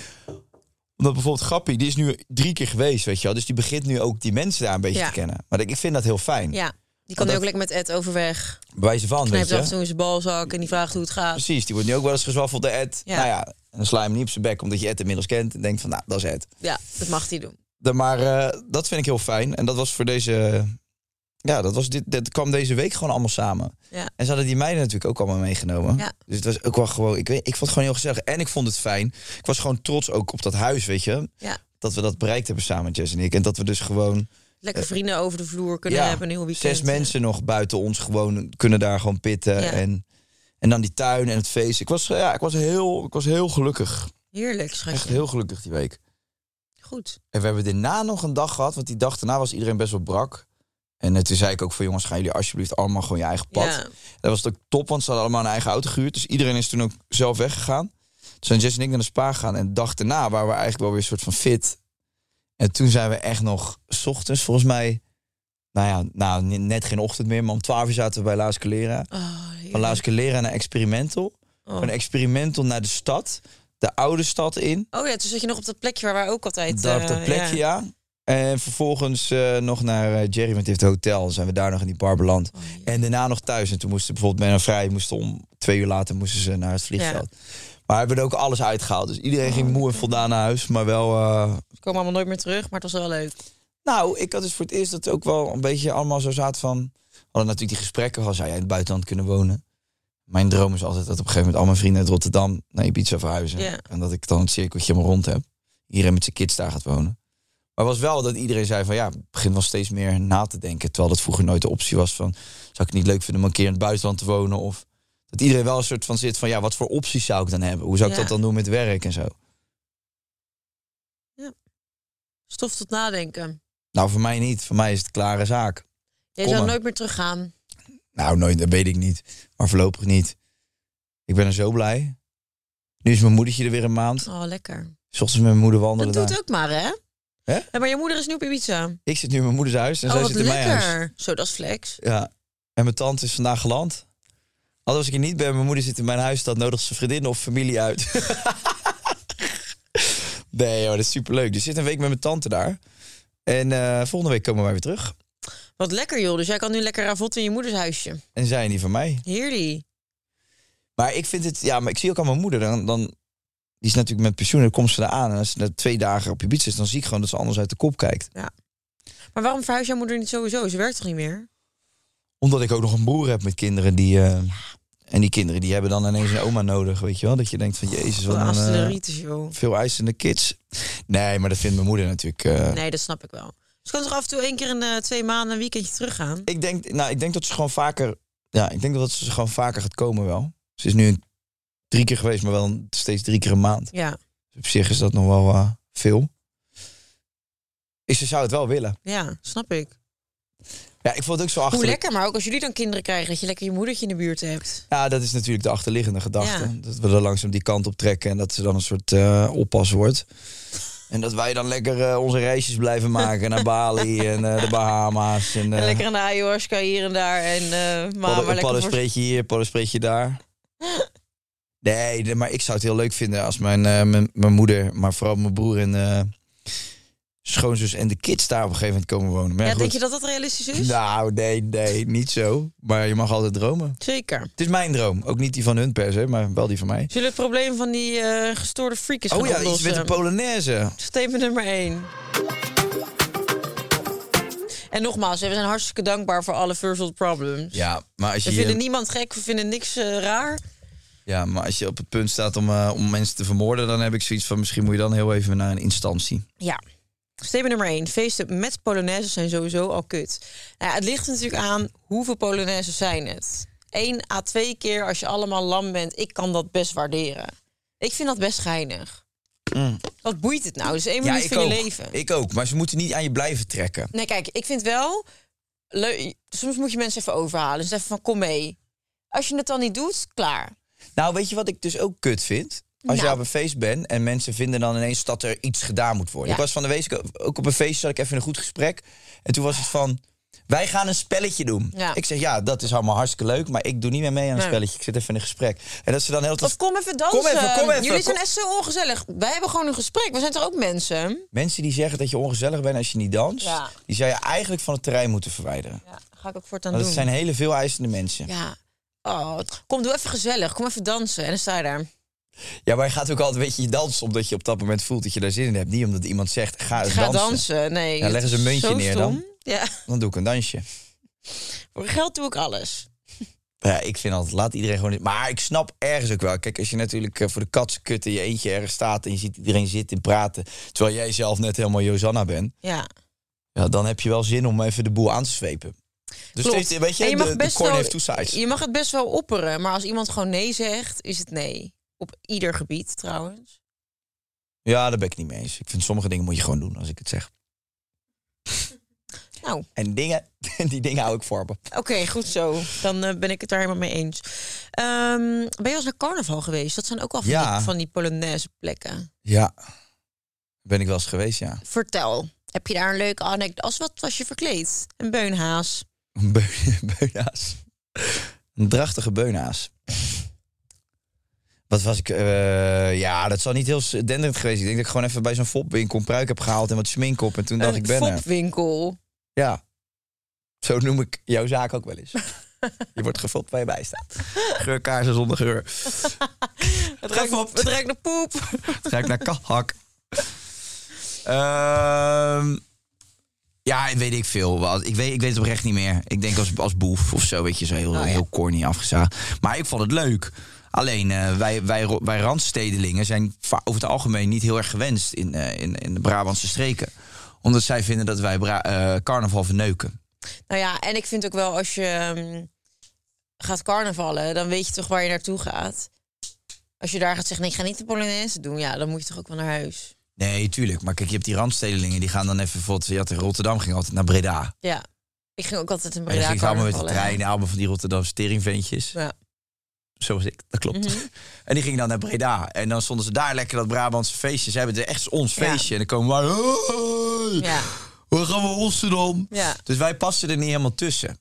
G: Omdat bijvoorbeeld Grappie, die is nu drie keer geweest, weet je wel. Dus die begint nu ook die mensen daar een beetje
F: Ja.
G: te kennen. Maar ik ik vind dat heel fijn.
F: ja. Die kan nu
G: dat-
F: ook lekker met Ed overweg.
G: Bij wijze van, weet
F: Knijpt af en
G: je.
F: toe in zijn balzak en die vraagt hoe het gaat.
G: Precies, die wordt nu ook wel eens gezwaffeld door Ed.
F: Ja.
G: Nou ja, en dan sla je hem niet op zijn bek, omdat je Ed inmiddels kent. En denkt van, nou, dat is Ed.
F: Ja, dat mag hij doen.
G: De- maar eh, dat vind ik heel fijn. En dat was voor deze... Ja, dat, was dit, dat kwam deze week gewoon allemaal samen.
F: Ja.
G: En ze hadden die meiden natuurlijk ook allemaal meegenomen.
F: Ja.
G: Dus het was ook wel gewoon... Ik, weet, ik vond het gewoon heel gezellig. En ik vond het fijn. Ik was gewoon trots ook op dat huis, weet je.
F: Ja.
G: Dat we dat bereikt hebben samen, Jess en ik. En dat we dus gewoon...
F: Lekker vrienden over de vloer kunnen
G: ja,
F: hebben een heel weekend.
G: zes mensen nog buiten ons gewoon kunnen daar gewoon pitten.
F: Ja.
G: En, en dan die tuin en het feest. Ik was, eh, ja, ik was, heel, ik was heel gelukkig.
F: Heerlijk,
G: Echt
F: schatje.
G: heel gelukkig die week.
F: Goed.
G: En we hebben daarna nog een dag gehad, want die dag daarna was iedereen best wel brak. En eh, toen zei ik ook van jongens, gaan jullie alsjeblieft allemaal gewoon je eigen pad.
F: Ja.
G: Dat was ook top, want ze hadden allemaal een eigen auto gehuurd. Dus iedereen is toen ook zelf weggegaan. Toen zijn Jess en ik naar de spa gegaan. En de dag daarna waren we eigenlijk wel weer een soort van fit. En toen zijn we echt nog 's ochtends, volgens mij... Nou ja, nou, ne- net geen ochtend meer, maar om 12 uur zaten we bij Laas Calera.
F: Oh,
G: Van
F: heerlijk.
G: Laas Calera naar Experimental.
F: Oh.
G: Van Experimental naar de stad. De oude stad in.
F: Oh ja, toen zat je nog op dat plekje waar wij ook altijd...
G: Daar op
F: eh,
G: dat plekje, ja. En vervolgens eh, nog naar eh, Jerry, want die heeft een hotel. Zijn we daar nog in die bar beland.
F: Oh, ja.
G: En daarna nog thuis. En toen moesten bijvoorbeeld Menno Vrij moesten om twee uur later moesten ze naar het vliegveld. Maar we hebben er ook alles uitgehaald. Dus iedereen
F: Oh,
G: ging moe en voldaan naar huis. Maar wel. eh,
F: Ze komen allemaal nooit meer terug, maar het was wel leuk.
G: Nou, ik had dus voor het eerst dat ook wel een beetje allemaal zo zaten van. We hadden natuurlijk die gesprekken van zou jij in het buitenland kunnen wonen. Mijn droom is altijd dat op een gegeven moment al mijn vrienden uit Rotterdam naar Ibiza verhuizen.
F: Ja.
G: En dat ik dan het cirkeltje om me rond heb. Iedereen met zijn kids daar gaat wonen. Maar was wel dat iedereen zei van ja, ik begin wel steeds meer na te denken. Terwijl dat vroeger nooit de optie was van zou ik het niet leuk vinden om een keer in het buitenland te wonen. Of dat iedereen wel een soort van zit van ja, wat voor opties zou ik dan hebben? Hoe zou ik
F: Ja.
G: dat dan doen met werk en zo?
F: Stof tot nadenken.
G: Nou, voor mij niet. Voor mij is het klare zaak.
F: Jij
G: Kom
F: zou
G: maar.
F: nooit meer teruggaan.
G: Nou, nooit, dat weet ik niet. Maar voorlopig niet. Ik ben er zo blij. Nu is mijn moedertje er weer een maand.
F: Oh, lekker.
G: 's Ochtends met mijn moeder
F: Dat
G: wandelen.
F: doet
G: daar.
F: ook maar, hè?
G: Hè?
F: Ja, maar je moeder is nu op Ibiza.
G: Ik zit nu in mijn moeders huis en
F: oh,
G: zij
F: wat
G: zit in mijn huis.
F: lekker. Zo, dat is flex.
G: Ja. En mijn tante is vandaag geland. Al als ik er niet ben, mijn moeder zit in mijn huis, dan nodigt ze vriendinnen of familie uit. nee, joh, dat is superleuk. Dus ik zit een week met mijn tante daar. En eh, volgende week komen wij weer terug.
F: Wat lekker, joh. Dus jij kan nu lekker ravotten in je moeders huisje.
G: En zij niet van mij.
F: Heerlijk.
G: Maar ik vind het, ja, maar ik zie ook aan mijn moeder, dan, dan die is natuurlijk met pensioen, dan komt ze eraan. En als ze na twee dagen op je biets is, dan zie ik gewoon dat ze anders uit de kop kijkt.
F: Maar waarom verhuist jouw moeder niet sowieso? Ze werkt toch niet meer?
G: Omdat ik ook nog een broer heb met kinderen die. eh, En die kinderen die hebben dan ineens een oma nodig, weet je wel? Dat je denkt van, jezus,
F: Wat
G: wat
F: een
G: een, eh,
F: astelleritis, joh.
G: veel eisende kids. Nee, maar dat vindt mijn moeder natuurlijk. eh,
F: Nee, dat snap ik wel. Ze kan toch af en toe één keer in de twee maanden een weekendje teruggaan?
G: Ik denk, nou, ik denk dat ze gewoon vaker. Ja, ik denk dat ze gewoon vaker gaat komen wel. Ze is nu een- drie keer geweest, maar wel een- steeds drie keer een maand.
F: Ja,
G: Dus op zich is dat nog wel eh, veel. Ik, ze zou het wel willen.
F: ja, snap ik.
G: Ja, ik vond het ook zo
F: Hoe
G: achterlijk.
F: lekker, maar ook als jullie dan kinderen krijgen, dat je lekker je moedertje in de buurt hebt.
G: Ja, dat is natuurlijk de achterliggende gedachte.
F: Ja.
G: Dat we er langzaam die kant op trekken en dat ze dan een soort eh, oppas wordt. En dat wij dan lekker eh, onze reisjes blijven maken naar Bali en eh, de Bahama's. En, eh,
F: En lekker een ayahuasca hier en daar. En eh
G: padden-
F: maar, maar lekker voor...
G: paddenspreetje hier, paddenspreetje daar. Nee, de- maar ik zou het heel leuk vinden als mijn, eh, mijn, mijn moeder, maar vooral mijn broer en eh, schoonzus en de kids daar op een gegeven moment komen wonen. Maar
F: Ja,
G: goed.
F: denk je dat dat realistisch is?
G: Nou, nee, nee, niet zo. Maar je mag altijd dromen.
F: Zeker.
G: Het is mijn droom. Ook niet die van hun per se, maar wel die van mij.
F: Zullen we het probleem van die eh, gestoorde freak is
G: Oh ja, iets met een Polonaise.
F: Statement nummer 1. En nogmaals, hè, we zijn hartstikke dankbaar voor alle first world problems.
G: Ja, maar als
F: We
G: je,
F: vinden niemand gek, we vinden niks eh, raar.
G: ja, maar als je op het punt staat om, eh, om mensen te vermoorden, dan heb ik zoiets van misschien moet je dan heel even naar een instantie.
F: Ja. Statement nummer 1. Feesten met Polonaise zijn sowieso al kut. Nou, ja, het ligt natuurlijk aan hoeveel Polonaise zijn het. 1 à 2 keer als je allemaal lam bent. Ik kan dat best waarderen. Ik vind dat best geinig. Wat boeit het nou? Dus één
G: Mm. ja,
F: minuut
G: ik
F: van
G: ook.
F: je leven.
G: Ik ook, maar ze moeten niet aan je blijven trekken.
F: Nee, kijk, ik vind wel... Leuk, soms moet je mensen even overhalen. Dus even van, kom mee. Als je het dan niet doet, klaar.
G: Nou, weet je wat ik dus ook kut vind? Als
F: Nou.
G: je op een feest bent en mensen vinden dan ineens dat er iets gedaan moet worden.
F: Ja.
G: Ik was van de week ook op een feest, zat ik even in een goed gesprek. En toen was het van, wij gaan een spelletje doen.
F: Ja.
G: Ik zeg, ja, dat is allemaal hartstikke leuk, maar ik doe niet meer mee aan een
F: Nee.
G: spelletje. Ik zit even in een gesprek. En dat ze dan heel
F: Of
G: tijd...
F: kom even dansen.
G: Kom even, kom even,
F: Jullie zijn
G: kom-
F: echt zo ongezellig. Wij hebben gewoon een gesprek. We zijn toch ook mensen?
G: Mensen die zeggen dat je ongezellig bent als je niet danst,
F: Ja.
G: die zou je eigenlijk van het terrein moeten verwijderen.
F: Ja, ga ik ook voortaan
G: Want
F: doen.
G: het zijn hele veel eisende mensen. Ja.
F: Ja. Oh, kom, doe even gezellig. Kom even dansen. En dan sta je daar.
G: maar je gaat ook altijd een beetje dansen omdat je op dat moment voelt dat je daar zin in hebt. Niet omdat iemand zegt, ga eens
F: Ga dansen.
G: dansen.
F: Nee.
G: Ja,
F: dat
G: leggen ze een
F: is
G: muntje
F: zo
G: neer
F: stom.
G: dan.
F: Ja.
G: Dan doe ik een dansje.
F: Voor geld doe ik alles.
G: Ja, ik vind altijd, laat iedereen gewoon... Maar ik snap ergens ook wel. Kijk, als je natuurlijk eh, voor de katse kutten je eentje ergens staat... en je ziet iedereen zitten en praten... terwijl jij zelf net helemaal Josanna bent...
F: Ja.
G: Ja, dan heb je wel zin om even de boel aan te zwepen. Dus
F: klopt.
G: steeds- weet je,
F: En
G: de, de corn
F: wel-
G: heeft two sides.
F: Je mag het best wel opperen. Maar als iemand gewoon nee zegt, is het nee. Op ieder gebied trouwens.
G: Ja, daar ben ik niet mee eens. Ik vind sommige dingen moet je gewoon doen als ik het zeg.
F: Nou,
G: En dingen, die dingen hou ik voor me.
F: oké, goed zo. Dan eh, ben ik het daar helemaal mee eens. Ehm, ben je wel eens naar carnaval geweest? Dat zijn ook al van,
G: Ja.
F: die, van die Polonaise plekken.
G: Ja. Ben ik wel eens geweest, ja.
F: Vertel, heb je daar een leuke anekdote? Als wat was je verkleed? Een beunhaas.
G: Een beun- beunaas. Een drachtige beunaas. Wat was ik? eh, ja, dat zal niet heel s- denderend geweest. Ik denk dat ik gewoon even bij zo'n fopwinkel een pruik heb gehaald en wat smink op. En toen dacht
F: een
G: ik ben er.
F: fopwinkel.
G: Ja. Zo noem ik jouw zaak ook wel eens. Je wordt gefopt waar je bij staat. Geurkaarsen zonder geur.
F: Het ruikt,
G: Gefopt.
F: het ruikt naar poep.
G: Het ruikt naar kahak. Ehm, ja, weet ik veel. Wat. Ik, weet, ik weet het oprecht niet meer. Ik denk als, als boef of zo, weet je, zo heel, heel corny afgezaagd. Maar ik vond het leuk. Alleen, eh, wij, wij, ro- wij randstedelingen zijn va- over het algemeen niet heel erg gewenst in, eh, in, in de Brabantse streken. Omdat zij vinden dat wij Bra- eh, carnaval verneuken.
F: Nou ja, en ik vind ook wel als je ehm, gaat carnavallen, dan weet je toch waar je naartoe gaat. Als je daar gaat zeggen, nee, ik ga niet de Polonaise doen, ja, dan moet je toch ook wel naar huis.
G: Nee, tuurlijk. Maar kijk, je hebt die randstedelingen, die gaan dan even... Bijvoorbeeld, je had in Rotterdam ging altijd naar Breda.
F: Ja, ik ging ook altijd in
G: En dan
F: Breda
G: ging ze allemaal met de
F: carnavallen.
G: trein, allemaal van die Rotterdamse teringventjes.
F: Ja. Mhm.
G: Zoals ik, dat klopt. En die gingen dan naar Breda. En dan stonden ze daar lekker dat Brabantse feestje. Ze hebben het echt ons
F: Ja.
G: feestje. En dan komen wij... Hey,
F: Ja.
G: Waar gaan we ons dan?
F: Ja.
G: Dus wij passen er niet helemaal tussen.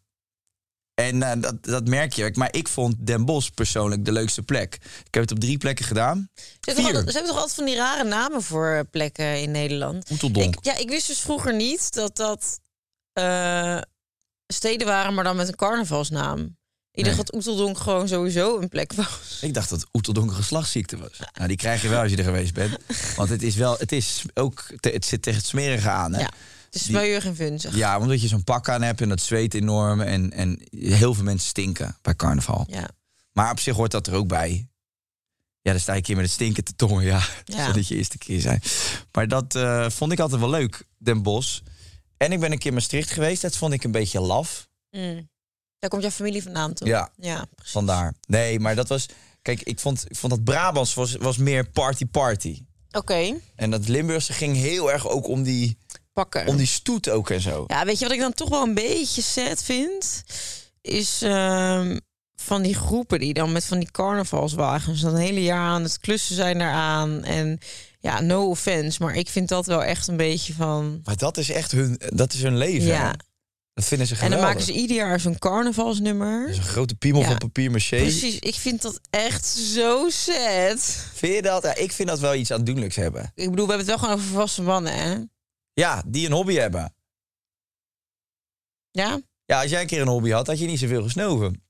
G: En eh, dat, dat merk je. Maar ik vond Den Bosch persoonlijk de leukste plek. Ik heb het op drie plekken gedaan.
F: Ze hebben, toch
G: Vier.
F: altijd, ze hebben toch altijd van die rare namen voor eh, plekken in Nederland?
G: Oeteldonk.
F: Ik, ja, ik wist dus vroeger niet dat dat eh, steden waren, maar dan met een carnavalsnaam. Ik dacht
G: Nee.
F: dat Oeteldonk gewoon sowieso een plek was.
G: Ik dacht dat Oeteldonk een geslachtsziekte was. Nou, die krijg je wel als je er geweest bent. Want het is wel, het is ook, te- het zit tegen het smerige aan. Hè?
F: Ja, het is smeuig en vunzig.
G: Ja, omdat je zo'n pak aan hebt en dat zweet enorm. En, en heel veel mensen stinken bij carnaval.
F: Ja.
G: Maar op zich hoort dat er ook bij. Ja, dan sta je een keer met het stinken te tongen. Ja, dat
F: Ja.
G: zal niet je eerste keer zijn. Maar dat eh, vond ik altijd wel leuk, Den Bosch. En ik ben een keer in Maastricht geweest. Dat vond ik een beetje laf.
F: Mm. Daar komt jouw familie vandaan, toch?
G: Ja.
F: Ja,
G: Vandaar. Nee, maar dat was... Kijk, ik vond, ik vond dat Brabants was, was meer party-party.
F: Oké,
G: En dat Limburgse ging heel erg ook om die,
F: pakken.
G: om die stoet ook en zo.
F: Ja, weet je wat ik dan toch wel een beetje sad vind? Is ehm, van die groepen die dan met van die carnavalswagens dan een hele jaar aan het klussen zijn daaraan. En ja, no offense, maar ik vind dat wel echt een beetje van...
G: Maar dat is echt hun, dat is hun leven.
F: Ja.
G: hè? Dat vinden ze
F: En
G: geweldig.
F: dan maken ze ieder jaar zo'n carnavalsnummer.
G: Dus een grote piemel
F: Ja.
G: van papier maché.
F: Precies, ik vind dat echt zo sad.
G: Vind je dat? Ja, ik vind dat wel iets aandoenlijks hebben.
F: Ik bedoel, we hebben het wel gewoon over volwassen mannen, hè?
G: Ja, die een hobby hebben.
F: Ja?
G: Ja, als jij een keer een hobby had, had je niet zoveel gesnoven.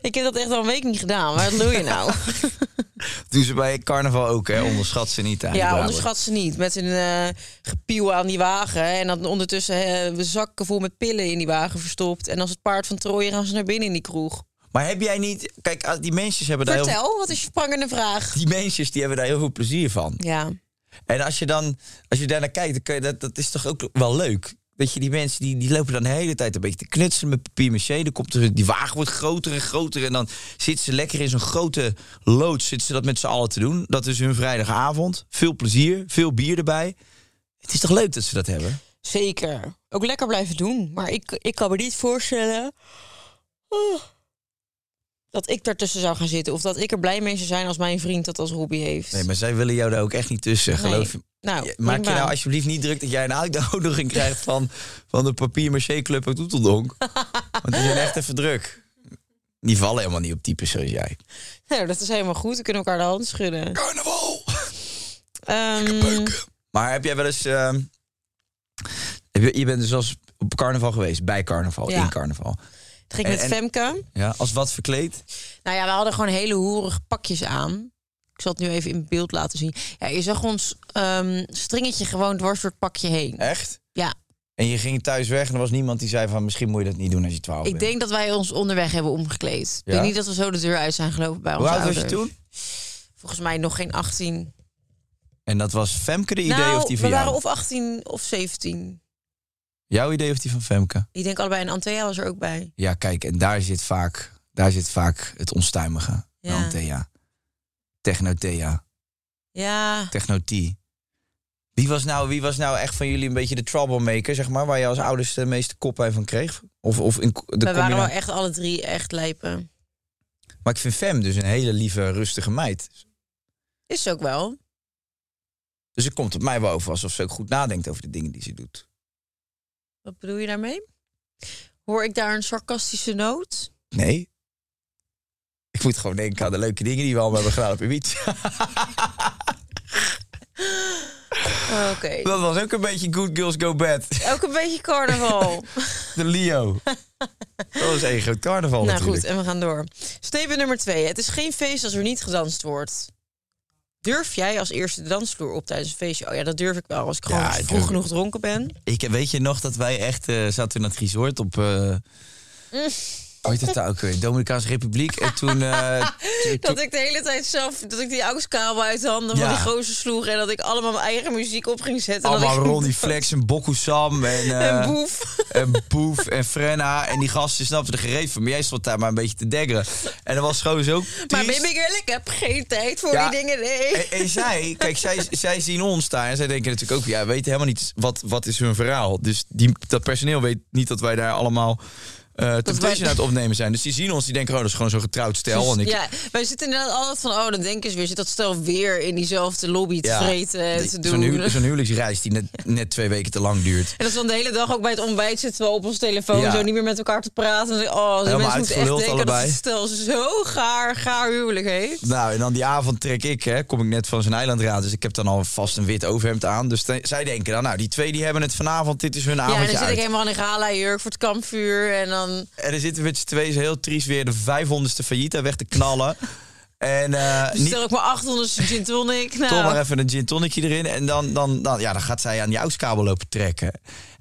F: Ik heb dat echt al een week niet gedaan. Wat doe je nou?
G: Doen ze bij carnaval ook, hè? Onderschat ze niet aan. die
F: Ja,
G: Brabant.
F: onderschat ze niet. Met een eh gepiel aan die wagen. En dan ondertussen eh, zakken vol met pillen in die wagen verstopt. En als het paard van Troje gaan ze naar binnen in die kroeg.
G: Maar heb jij niet... Kijk, ah, die mensen hebben daar heel...
F: Vertel, wat is je prangende vraag?
G: Die mensen die hebben daar heel veel plezier van.
F: Ja,
G: En als je dan, als je daarnaar kijkt, dan kun je dat, dat is toch ook wel leuk. Dat je die mensen die, die lopen dan de hele tijd een beetje te knutselen met papier maché. Dan komt er, die wagen wordt groter en groter. En dan zitten ze lekker in zo'n grote loods. Zitten ze dat met z'n allen te doen. Dat is hun vrijdagavond. Veel plezier, veel bier erbij. Het is toch leuk dat ze dat hebben?
F: zeker. Ook lekker blijven doen. Maar ik, ik kan me niet voorstellen... oh, dat ik daartussen zou gaan zitten. Of dat ik er blij mee zou zijn als mijn vriend dat als hobby heeft.
G: Nee, maar zij willen jou daar ook echt niet tussen,
F: Nee.
G: geloof je.
F: Nou,
G: Maak
F: denk
G: je nou
F: maar.
G: alsjeblieft niet druk dat jij een uitnodiging krijgt van, van de papier maché club uit Oeteldonk. Want die zijn echt even druk. Die vallen helemaal niet op types zoals jij.
F: Nou, dat is helemaal goed. We kunnen elkaar de hand schudden.
G: carnaval.
F: Ehm,
G: Mm. Maar heb jij wel eens... ehm, heb je, je bent dus als op carnaval geweest, bij carnaval,
F: Ja.
G: in carnaval.
F: het ging met
G: En- en-
F: Femke.
G: Ja, als wat verkleed?
F: Nou ja, we hadden gewoon hele hoerige pakjes aan. Ik zal het nu even in beeld laten zien. Ja, je zag ons ehm, stringetje gewoon dwars door het pakje heen.
G: Echt?
F: Ja,
G: En je ging thuis weg en er was niemand die zei van... misschien moet je dat niet doen als je 12
F: ik
G: bent.
F: denk dat wij ons onderweg hebben omgekleed. Ik denk
G: Ja?
F: niet dat we zo de deur uit zijn gelopen bij ons
G: Hoe
F: onze
G: oud was je
F: ouders.
G: toen?
F: Volgens mij nog geen 18.
G: En dat was Femke de idee
F: nou,
G: of die
F: we
G: van jou?
F: waren of 18 of 17.
G: Jouw idee of die van Femke?
F: Ik denk allebei en Antea was er ook bij.
G: Ja, kijk, en daar zit vaak, daar zit vaak het onstuimige.
F: Ja.
G: Ja. Thea. Technothea,
F: Ja,
G: Technotie. Wie was, nou, wie was nou echt van jullie een beetje de troublemaker, zeg maar, waar je als ouders de meeste koppijn van kreeg? Of, of in ko- de
F: we waren
G: combina-
F: wel echt alle drie echt lijpen.
G: Maar ik vind Fem dus een hele lieve, rustige meid.
F: Is ook wel.
G: Dus het komt op mij wel over alsof ze ook goed nadenkt over de dingen die ze doet.
F: Wat bedoel je daarmee? Hoor ik daar een sarcastische noot?
G: Nee. Ik moet gewoon denken aan de leuke dingen die we allemaal hebben gedaan op Ibiza.
F: Oké.
G: Dat was ook een beetje Good Girls Go Bad.
F: Ook een beetje carnaval.
G: De Leo. Dat was één groot carnaval
F: nou
G: Oh, natuurlijk.
F: goed, en we gaan door. Strepen nummer twee. Het is geen feest als er niet gedanst wordt. Durf jij als eerste de dansvloer op tijdens een feestje? Oh ja, dat durf ik wel. Als ik gewoon
G: Ja,
F: vroeg
G: durf ik.
F: genoeg dronken ben.
G: Ik, weet je nog dat wij echt eh, zaten in dat resort op...
F: Mm.
G: eh Ooit dat daar ook weer? Dominicaanse Republiek. En toen... eh, toen-
F: Dat ik de hele tijd zelf, dat ik die AUX-kabel uit de handen
G: Ja.
F: van die gozer sloeg. En dat ik allemaal mijn eigen muziek op ging zetten. En
G: allemaal
F: dat ik
G: Ronnie Flex en Bokku Sam en... eh,
F: En boef.
G: En Boef en Frenna en die gasten snapten er gereed van. Maar jij stond daar maar een beetje te deggeren. En dat was gewoon zo
F: Maar
G: triest.
F: ben ik eerlijk, ik heb geen tijd voor
G: Ja. Eh,
F: die dingen. Nee.
G: En, en zij, kijk, zij, zij zien ons daar en zij denken natuurlijk ook, ja, we weten helemaal niet wat, wat is hun verhaal. Dus die, dat personeel weet niet dat wij daar allemaal eh temptation
F: wij-
G: aan het opnemen zijn. Dus die zien ons, die denken, oh, dat is gewoon zo'n getrouwd stel. En ik,
F: Ja, wij zitten inderdaad altijd van, oh, dan denken ze weer, zit dat stel weer in diezelfde lobby te vreten en
G: die-
F: te
G: Zo'n,
F: doen.
G: huw- zo'n huwelijksreis die net, net twee weken te lang duurt.
F: En dat we dan de hele dag ook bij het ontbijt zitten we op ons telefoon
G: Ja.
F: zo niet meer met elkaar te praten. En dan, oh, die
G: Helemaal
F: mensen moeten echt
G: uitgeluld
F: denken dat
G: allebei.
F: het stel zo gaar, gaar huwelijk heeft.
G: Nou, en dan die avond trek ik, hè, kom ik net van zijn eilandraad. Dus ik heb dan al vast een wit overhemd aan. Dus te- zij denken dan, nou, die twee die hebben het vanavond, dit is hun
F: Ja, en
G: avondje
F: dan zit ik
G: uit.
F: helemaal in een gala jurk voor het kampvuur en dan...
G: En er zitten we met z'n tweeën zo heel triest weer de 500ste failliet daar weg te knallen. En eh niet,
F: Stel ik maar 800 gin tonic. Nou,
G: Toch maar even een gin tonicje erin. En dan, dan, dan, ja, dan gaat zij aan die oudskabel lopen trekken.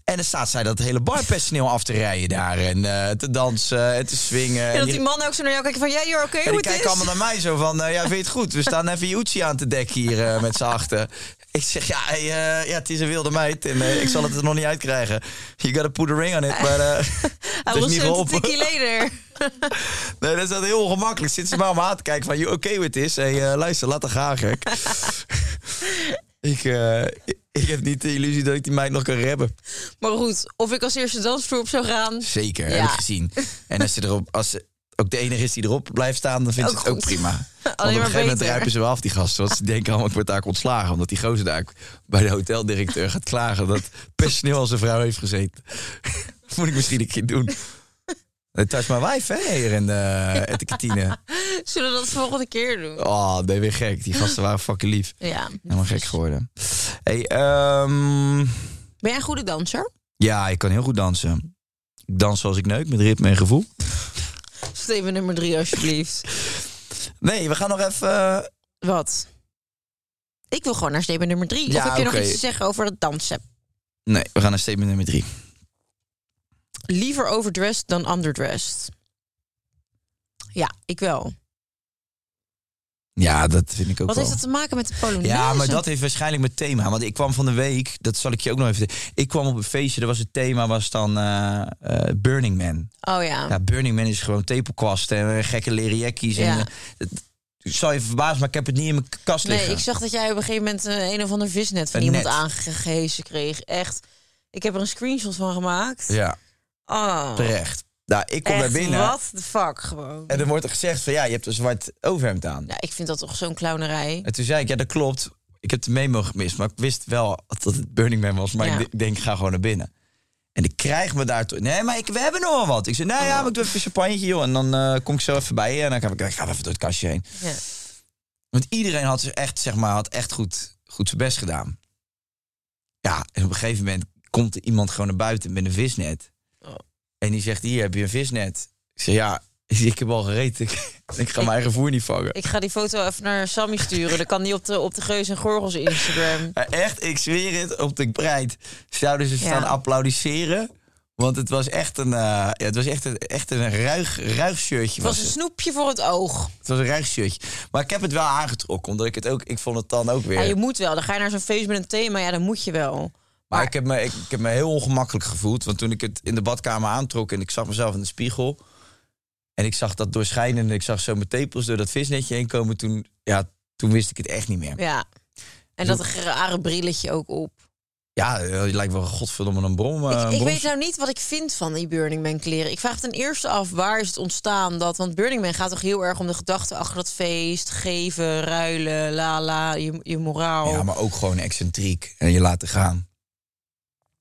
G: En dan staat zij dat hele barpersoneel af te rijden daar. En eh, te dansen en te swingen.
F: en dat
G: die-
F: die mannen ook zo naar jou kijken van, ja, you're okay
G: en die
F: hoe het
G: kijken
F: is.
G: allemaal naar mij zo van, eh, ja, vind je het goed? We staan even Jutsi aan te dek hier eh, met z'n achter. Ik zeg, ja, hey, eh, ja, het is een wilde meid en eh, ik zal het er nog niet uitkrijgen. You gotta put a ring on it, maar eh
F: Hij
G: het is
F: was
G: niet
F: een
G: geholpen.
F: tikkie later.
G: Nee, dat is dat heel ongemakkelijk. Zit ze maar om aan te kijken van, you okay with this? Hey, eh, luister, laat dat gaan, gek. ik, eh, ik- ik heb niet de illusie dat ik die meid nog kan hebben.
F: Maar goed, of ik als eerste dansvloer op zou gaan,
G: Zeker,
F: Ja.
G: heb ik gezien. En als ze erop, als ze ook de enige is die erop blijft staan, dan vindt ze
F: Ook
G: het ook
F: Oh, goed.
G: prima. Want op
F: maar
G: een gegeven moment
F: beter.
G: ruipen ze wel af, die gasten. Want ze denken allemaal, ik word daar ontslagen. Omdat die gozer daar bij de hoteldirecteur gaat klagen... dat personeel als een vrouw heeft gezeten. Moet ik misschien een keer doen. Het is mijn wijf, hè, hier in de, in de kantine.
F: zullen we dat de volgende keer doen.
G: Oh, ben je weer gek. Die gasten waren fucking lief.
F: Ja.
G: Helemaal gek geworden. Hey, ehm,
F: Ben jij een goede danser?
G: ja, ik kan heel goed dansen. Ik dans zoals ik neuk, met ritme en gevoel.
F: Steven nummer drie, alsjeblieft.
G: Nee, we gaan nog even... eh,
F: Wat? Ik wil gewoon naar statement nummer drie.
G: Ja,
F: of heb je nog
G: oké.
F: iets te zeggen over het dansen?
G: Nee, we gaan naar statement nummer drie.
F: Liever overdressed dan underdressed. Ja, ik wel.
G: Ja, dat vind ik ook
F: Wat
G: wel.
F: heeft dat te maken met de polonaise?
G: ja, maar dat heeft waarschijnlijk met thema. Want ik kwam van de week, dat zal ik je ook nog even... Ik kwam op een feestje, er was het thema was dan eh, eh, Burning Man.
F: Oh ja.
G: Ja, Burning Man is gewoon tepelkwasten en eh, gekke leren jekkies. En,
F: Ja.
G: eh, het, het zal je verbaasd, maar ik heb het niet in mijn kast
F: nee,
G: liggen.
F: ik zag dat jij op een gegeven moment eh, een of ander visnet van
G: Een
F: iemand
G: net.
F: aangegeven kreeg. Echt. Ik heb er een screenshot van gemaakt.
G: Ja,
F: Oh,
G: terecht. Nou, ik kom
F: echt,
G: daar binnen.
F: what the fuck gewoon.
G: En dan wordt er gezegd van ja, je hebt een zwart overhemd aan.
F: Ja, ik vind dat toch zo'n clownerij.
G: En toen zei ik, ja dat klopt. Ik heb de memo gemist, maar ik wist wel dat het Burning Man was. Maar
F: Ja.
G: ik d- denk, ik ga gewoon naar binnen. En ik krijg me daartoe. Nee, maar ik, we hebben nog wel wat. Ik zei, nou
F: Oh.
G: ja, maar ik doe even een champagne, joh. En dan eh, kom ik zo even bij je. En dan ga ik, ik ga even door het kastje heen.
F: Ja.
G: Want iedereen had, zich echt, zeg maar, had echt goed, goed zijn best gedaan. Ja, en op een gegeven moment komt er iemand gewoon naar buiten met een visnet.
F: Oh.
G: En die zegt, hier heb je een visnet. Ik zeg, ja, ik heb al gereed. Ik, ik ga mijn eigen voer niet vangen.
F: Ik ga die foto even naar Sammy sturen. Dat kan niet op de, op de Geus en Gorgels Instagram.
G: Maar echt, ik zweer het, op de breit zouden ze
F: Ja.
G: staan applaudisseren. Want het was echt een, eh, ja, het was echt een, echt een ruig, ruig shirtje.
F: Het was een snoepje voor het oog.
G: het was een ruig shirtje. Maar ik heb het wel aangetrokken, omdat ik het ook, ik vond het dan ook weer.
F: Ja, je moet wel. Dan ga je naar zo'n feest met een thema. Ja, dan moet je wel.
G: Maar ik heb, me, ik, ik heb me heel ongemakkelijk gevoeld. Want toen ik het in de badkamer aantrok en ik zag mezelf in de spiegel. En ik zag dat doorschijnen en ik zag zo mijn tepels door dat visnetje heen komen. Toen, ja, Toen wist ik het echt niet meer.
F: Ja. En dat rare brilletje ook op.
G: Ja, eh, je lijkt wel godverdomme een brom. eh, een
F: ik, ik
G: brom-
F: weet nou niet wat ik vind van die Burning Man kleren. Ik vraag ten eerste af, waar is het ontstaan dat? Want Burning Man gaat toch heel erg om de gedachte achter dat feest, geven, ruilen, la la, je, je moraal.
G: Ja, maar ook gewoon excentriek en je laten gaan.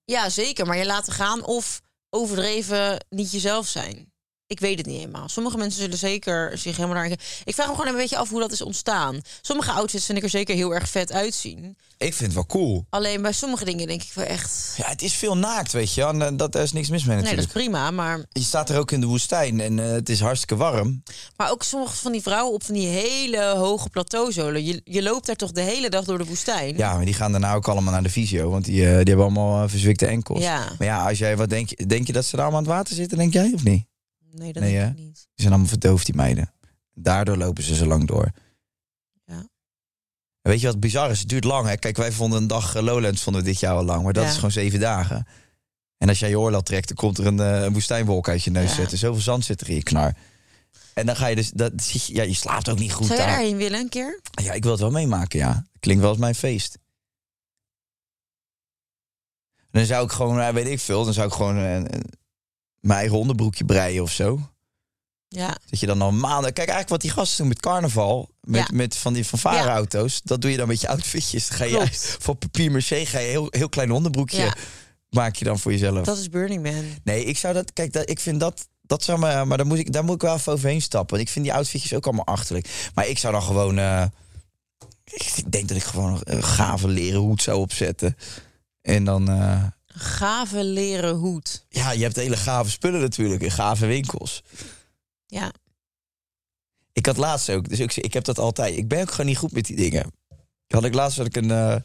F: Ja, zeker. Maar je laten gaan of overdreven niet jezelf zijn. Ik weet het niet helemaal. Sommige mensen zullen zeker zich helemaal daarin... Ik vraag me gewoon een beetje af hoe dat is ontstaan. Sommige outfits vind ik er zeker heel erg vet uitzien.
G: Ik vind het wel cool.
F: Alleen bij sommige dingen denk ik wel echt...
G: Ja, het is veel naakt, weet je. wel, En eh, dat, daar is niks mis mee
F: Nee, dat
G: natuurlijk.
F: is prima, maar...
G: Je staat er ook in de woestijn en eh, het is hartstikke warm.
F: Maar ook sommige van die vrouwen op van die hele hoge plateauzolen. Je, je loopt daar toch de hele dag door de woestijn?
G: Ja, maar die gaan daarna ook allemaal naar de visio, want die, eh, die hebben allemaal eh, verzwikte enkels.
F: Ja.
G: Maar ja, als jij, wat denk, je, denk je dat ze daar allemaal aan het water zitten, denk jij of niet?
F: Nee, dat
G: Nee,
F: denk
G: hè?
F: ik niet.
G: Die zijn allemaal verdoofd, die meiden. Daardoor lopen ze zo lang door.
F: Ja.
G: En weet je wat bizar is? Het duurt lang, hè? Kijk, wij vonden een dag eh, Lowlands vonden we dit jaar al lang, maar dat
F: Ja.
G: is gewoon zeven dagen. En als jij je oorlel trekt, dan komt er een, eh, een woestijnwolk uit je neus
F: Ja.
G: zetten. Zoveel zand zit er in je knar. En dan ga je dus... Dat, zit je- ja, je slaapt ook niet goed
F: Zou jij
G: daar.
F: daarheen willen een keer?
G: Ja, ik wil het wel meemaken, ja. Klinkt wel als mijn feest. Dan zou ik gewoon, eh, weet ik veel, dan zou ik gewoon eh, eh, mijn eigen onderbroekje breien of zo.
F: Ja.
G: Dat je dan al maanden... Kijk, eigenlijk wat die gasten doen met carnaval, met,
F: Ja.
G: met van die fanfareauto's, dat doe je dan met je outfitjes. Dan ga je
F: Klopt.
G: voor papier maché ga je een heel, heel klein onderbroekje,
F: Ja.
G: maak je dan voor jezelf.
F: Dat is Burning Man.
G: Nee, ik zou dat. Kijk, dat, ik vind dat. Dat zou me, maar daar moet, ik, daar moet ik wel even overheen stappen. Want ik vind die outfitjes ook allemaal achterlijk. Maar ik zou dan gewoon. eh, ik denk dat ik gewoon een gave leren hoed zou opzetten. En dan. eh,
F: Gave leren hoed.
G: ja, je hebt hele gave spullen natuurlijk in gave winkels.
F: Ja.
G: Ik had laatst ook. Dus ik, ik heb dat altijd. Ik ben ook gewoon niet goed met die dingen. Had ik laatst had ik een. eh,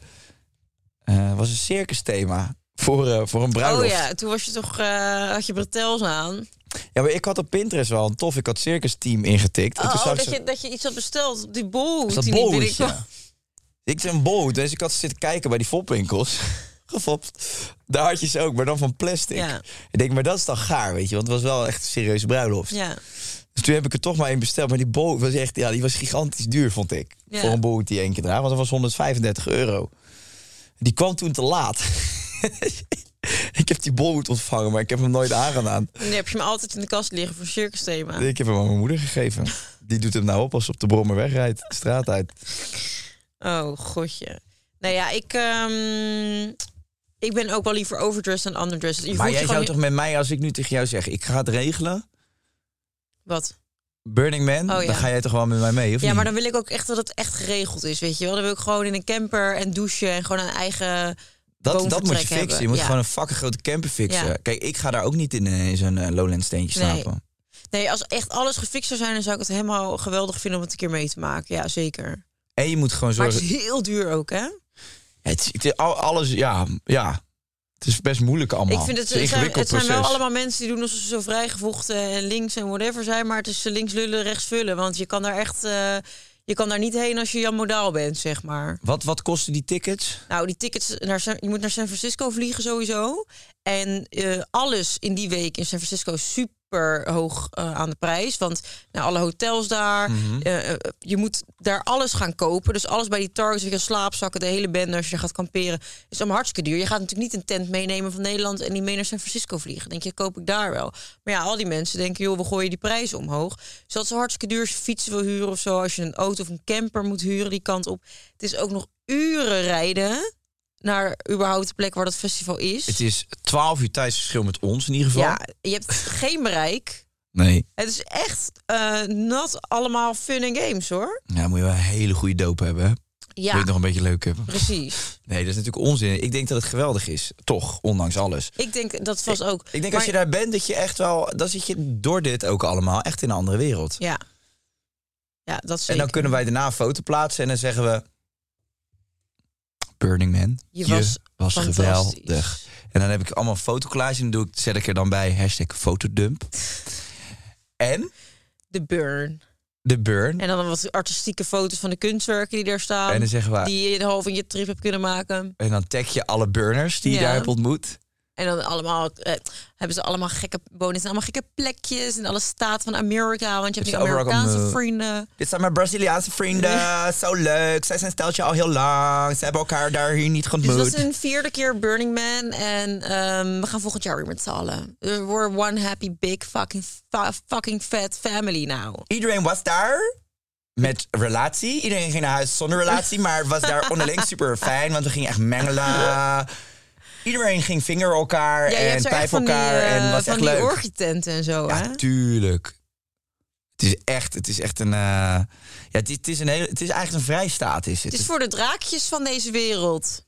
G: eh, was een circus thema. Voor, eh, voor een bruiloft.
F: Oh ja, toen was je toch, eh, had je bretels aan.
G: Ja, maar ik had op Pinterest wel een tof. Ik had circus team ingetikt. en toen
F: Oh,
G: zag ik
F: dat,
G: ze-
F: je, dat je iets had besteld. Die bolhoed.
G: Is dat
F: die niet
G: bolhoedje?
F: binnenkwam.
G: Ik ben boot, dus ik had zitten kijken bij die fopwinkels. Gefopt. Daar had je ze ook, maar dan van plastic.
F: Ja.
G: Ik denk, maar dat is dan gaar, weet je. Want het was wel echt een serieuze bruiloft.
F: Ja.
G: Dus toen heb ik er toch maar één besteld. Maar die boot was echt, ja, die was gigantisch duur, vond ik.
F: Ja.
G: Voor een boot die één keer draagt. Want dat was 135 euro. Die kwam toen te laat. ik heb die boot ontvangen, maar ik heb hem nooit aangedaan.
F: En die heb je me altijd in de kast liggen voor circus thema.
G: Ik heb hem aan mijn moeder gegeven. Die doet hem nou op als ze op de brommer wegrijdt, de straat uit.
F: Oh, godje. Nou ja, ik, ehm, ik ben ook wel liever overdressed dan underdressed. Je
G: maar
F: voelt je
G: jij zou
F: gewoon-
G: toch met mij, als ik nu tegen jou zeg, ik ga het regelen.
F: Wat?
G: Burning Man,
F: Oh, ja.
G: dan ga jij toch wel met mij mee, of
F: Ja,
G: niet?
F: maar dan wil ik ook echt dat het echt geregeld is, weet je wel. Dan wil ik gewoon in een camper en douchen en gewoon een eigen...
G: dat, dat
F: woonvertrek
G: moet je fixen. Je
F: hebben.
G: moet
F: Ja.
G: gewoon een fucking grote camper fixen.
F: Ja.
G: Kijk, ik ga daar ook niet in, eh, in zo'n eh, Lowlands steentje
F: Nee.
G: slapen.
F: Nee, als echt alles gefixt zou zijn, dan zou ik het helemaal geweldig vinden om het een keer mee te maken. Ja, zeker.
G: En je moet gewoon
F: Maar
G: zorgen...
F: het is heel duur ook, hè?
G: het, is- het is al- alles, ja, ja. Het is best moeilijk allemaal.
F: Ik vind het,
G: is
F: het,
G: een
F: zijn,
G: ingewikkeld
F: het zijn wel
G: proces.
F: allemaal mensen die doen alsof ze zo vrijgevochten en links en whatever zijn. Maar het is links lullen, rechts vullen. Want je kan daar echt... eh, je kan daar niet heen als je Jan Modaal bent, zeg maar.
G: Wat, wat kosten die tickets?
F: Nou, die tickets, naar San- je moet naar San Francisco vliegen sowieso. En eh, alles in die week in San Francisco is super hoog eh, aan de prijs. Want nou, alle hotels daar, eh, eh, je moet daar alles gaan kopen. Dus alles bij die Targets, weet je, slaapzakken, de hele bende als je daar gaat kamperen. is allemaal hartstikke duur. Je gaat natuurlijk niet een tent meenemen van Nederland en die mee naar San Francisco vliegen. Denk je, koop ik daar wel. Maar ja, al die mensen denken, joh, we gooien die prijzen omhoog. Dus dat is hartstikke duur als je fietsen wil huren of zo. Als je een auto of een camper moet huren die kant op. Het is ook nog uren rijden naar überhaupt de plek waar dat festival is.
G: Het is 12 uur tijdsverschil met ons in ieder geval.
F: ja, je hebt geen bereik.
G: Nee,
F: Het is echt eh not allemaal fun en games hoor.
G: ja, Nou, moet je wel een hele goede doop hebben. hè? Wil je
F: Ja,
G: het nog een beetje leuk hebben?
F: precies.
G: Nee, dat is natuurlijk onzin. Ik denk dat het geweldig is. Toch, ondanks alles.
F: Ik denk dat was ook.
G: Ik denk
F: Maar-
G: als je daar bent, dat je echt wel... Dan zit je door dit ook allemaal echt in een andere wereld.
F: Ja, ja dat zeker.
G: En dan kunnen wij daarna een foto plaatsen en dan zeggen we... Burning Man,
F: Je was fantastisch.
G: geweldig. En dan heb ik allemaal een fotocollage en dan doe ik, zet ik er dan bij hashtag fotodump. En
F: de burn.
G: de burn.
F: En dan wat artistieke foto's van de kunstwerken die daar staan.
G: En dan zeggen we-
F: Die je half in je trip hebt kunnen maken.
G: En dan tag je alle burners die je
F: Ja.
G: daar hebt ontmoet.
F: En dan allemaal, eh, hebben ze allemaal gekke wonen. allemaal gekke plekjes in alle staten van Amerika. Want je hebt
G: Is
F: nu
G: overal
F: Amerikaanse
G: gemunt.
F: vrienden.
G: Dit zijn mijn Braziliaanse vrienden. Zo leuk. Zij zijn steltje al heel lang. Ze hebben elkaar daar hier niet
F: Dus
G: ontmoet.
F: dat is hun vierde keer Burning Man. En ehm, we gaan volgend jaar weer met z'n allen. We're one happy, big, fucking, fa- fucking fat family now.
G: Iedereen was daar met relatie. Iedereen ging naar huis zonder relatie, maar het was daar onderling super fijn, want we gingen echt mengelen. Iedereen ging vinger elkaar
F: Ja, je
G: en
F: hebt er echt
G: pijp
F: van die,
G: elkaar
F: eh,
G: en was
F: van
G: echt
F: die
G: leuk.
F: orgietenten en zo, hè?
G: Ja, tuurlijk. Het is echt, het is echt een, eh, ja, het is, het is een hele, het is eigenlijk een vrijstaat is het.
F: Het is voor de draakjes van deze wereld.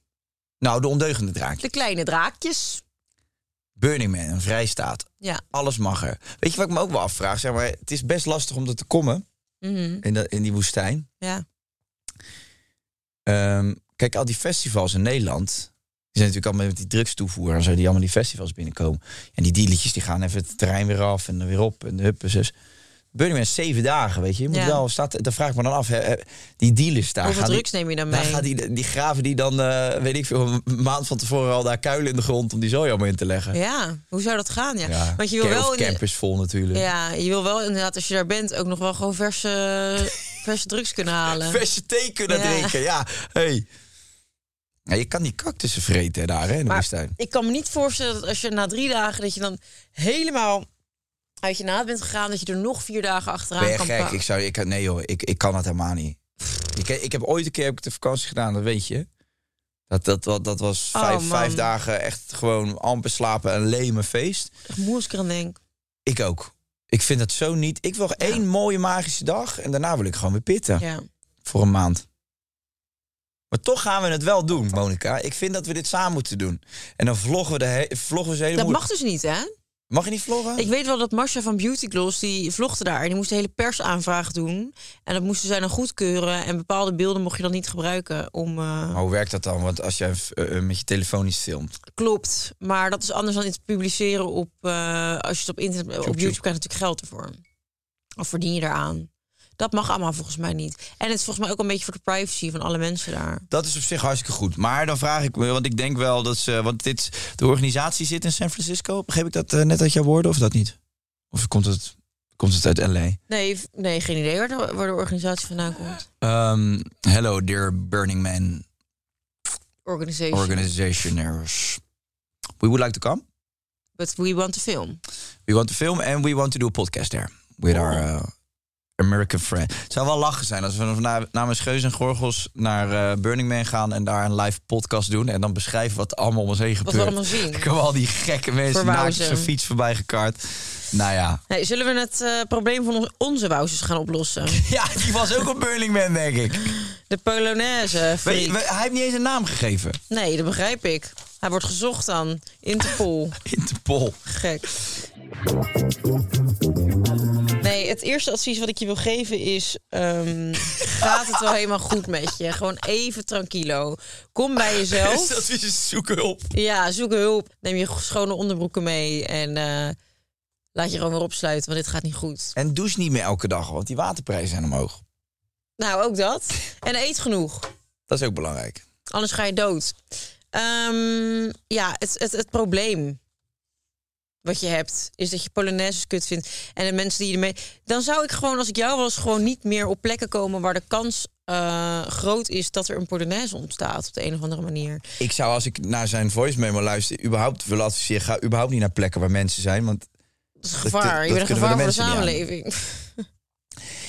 G: Nou, de ondeugende draak.
F: De kleine draakjes.
G: Burning Man, een vrijstaat.
F: Ja.
G: Alles mag er. Weet je wat ik me ook wel afvraag? Zeg maar, het is best lastig om er te komen
F: Mhm.
G: in, dat- in die woestijn.
F: ja.
G: Ehm, kijk, al die festivals in Nederland. Die zijn natuurlijk allemaal met die drugstoevoer en zo, die allemaal die festivals binnenkomen. En die dealertjes die gaan even het terrein weer af en dan weer op en huppen zus. Burning Man is zeven dagen, weet je. Je moet
F: Ja.
G: wel, staat, dan vraag ik me dan af, hè, hè, die dealers daar.
F: Hoeveel
G: gaan die-
F: drugs neem je dan
G: daar
F: mee?
G: gaan die, die graven die dan, eh, weet ik veel, een maand van tevoren al daar kuilen in de grond om die zooi allemaal in te leggen.
F: Ja, hoe zou dat gaan? Ja.
G: Ja,
F: Want je wil
G: ca- of
F: wel... in-
G: campers vol natuurlijk.
F: ja, je wil wel inderdaad, als je daar bent, ook nog wel gewoon verse, verse drugs kunnen halen.
G: Verse thee kunnen
F: Ja.
G: drinken, ja. Hey. Ja, je kan die cactussen vreten hè, daar hè, in de
F: Maar
G: woestijn.
F: ik kan me niet voorstellen dat als je na drie dagen dat je dan helemaal uit je naad bent gegaan, dat je er nog vier dagen achteraan
G: Ben je
F: kan
G: gek?
F: pakken.
G: Ik zou, ik, nee joh, ik, ik kan dat helemaal niet. Ik, ik heb ooit een keer heb ik de vakantie gedaan, dat weet je. Dat, dat, dat, dat was
F: Oh,
G: vijf,
F: man.
G: vijf dagen echt gewoon amper slapen en leme feest.
F: Echt moesker aan denk.
G: Ik ook. Ik vind dat zo niet. Ik wil één mooie magische dag en daarna wil ik gewoon weer pitten.
F: Ja.
G: Voor een maand. Maar toch gaan we het wel doen, Monica. Ik vind dat we dit samen moeten doen. En dan vloggen we, de he- vloggen we ze
F: Dat
G: helemaal.
F: mag dus niet, hè?
G: mag je niet vloggen?
F: Ik weet wel dat Marsha van Beauty Gloss, die vlogde daar. En die moest een hele persaanvraag doen. En dat moesten zij dan goedkeuren. En bepaalde beelden mocht je dan niet gebruiken om... eh,
G: Maar hoe werkt dat dan? Want als jij eh, eh, met je telefoon iets filmt.
F: Klopt, maar dat is anders dan iets publiceren op... eh, als je het op internet... op
G: tjoep.
F: YouTube krijg je natuurlijk geld ervoor. Of verdien je daaraan. Dat mag allemaal volgens mij niet. En het is volgens mij ook een beetje voor de privacy van alle mensen daar.
G: Dat is op zich hartstikke goed. Maar dan vraag ik me, want ik denk wel dat ze. Want dit, de organisatie zit in San Francisco. Begreep ik dat eh, net uit jouw woorden of dat niet? Of komt het, komt het uit LA?
F: Nee, v- nee geen idee waar de, waar de organisatie vandaan komt.
G: Ehm, hello, dear Burning Man
F: Organization.
G: organizationers. We would like to come.
F: But we want to film.
G: We want to film and we want to do a podcast there. With our eh, American friend. Het zou wel lachen zijn als we na- namens Geus en Gorgels naar eh, Burning Man gaan en daar een live podcast doen. En dan beschrijven wat er allemaal om ons heen gebeurt.
F: Wat we allemaal zien.
G: Ik komen al die gekke mensen
F: Verwauzen.
G: naakt op zijn fiets voorbij gekaart. Nou ja.
F: Nee, zullen we het eh, probleem van on- onze wouses gaan oplossen?
G: Ja, die was ook op Burning Man, denk ik.
F: De Polonaise,
G: Weet je,
F: freak.
G: we- hij heeft niet eens een naam gegeven.
F: Nee, dat begrijp ik. Hij wordt gezocht aan Interpol.
G: Interpol.
F: Gek. Nee, het eerste advies wat ik je wil geven is... ehm, gaat het wel helemaal goed met je? Gewoon even tranquilo. Kom bij
G: Dus
F: jezelf.
G: dat is eens zoeken hulp.
F: Ja, zoek hulp. Neem je schone onderbroeken mee. En eh, laat je gewoon weer opsluiten, want dit gaat niet goed.
G: En douche niet meer elke dag, want die waterprijzen zijn omhoog.
F: Nou, ook dat. En eet genoeg.
G: Dat is ook belangrijk.
F: Anders ga je dood. Ehm, ja, het, het, het probleem wat je hebt, is dat je Polonaises kut vindt. En de mensen die je ermee... Dan zou ik gewoon, als ik jou was, gewoon niet meer op plekken komen... waar de kans eh, groot is dat er een Polonaise ontstaat op de een of andere manier.
G: Ik zou, als ik naar zijn voice memo luister, überhaupt willen adviseren... ga überhaupt niet naar plekken waar mensen zijn, want
F: Dat is
G: dat
F: gevaar. je
G: kunnen
F: bent
G: we
F: een gevaar
G: de
F: voor de
G: mensen niet aan.
F: samenleving.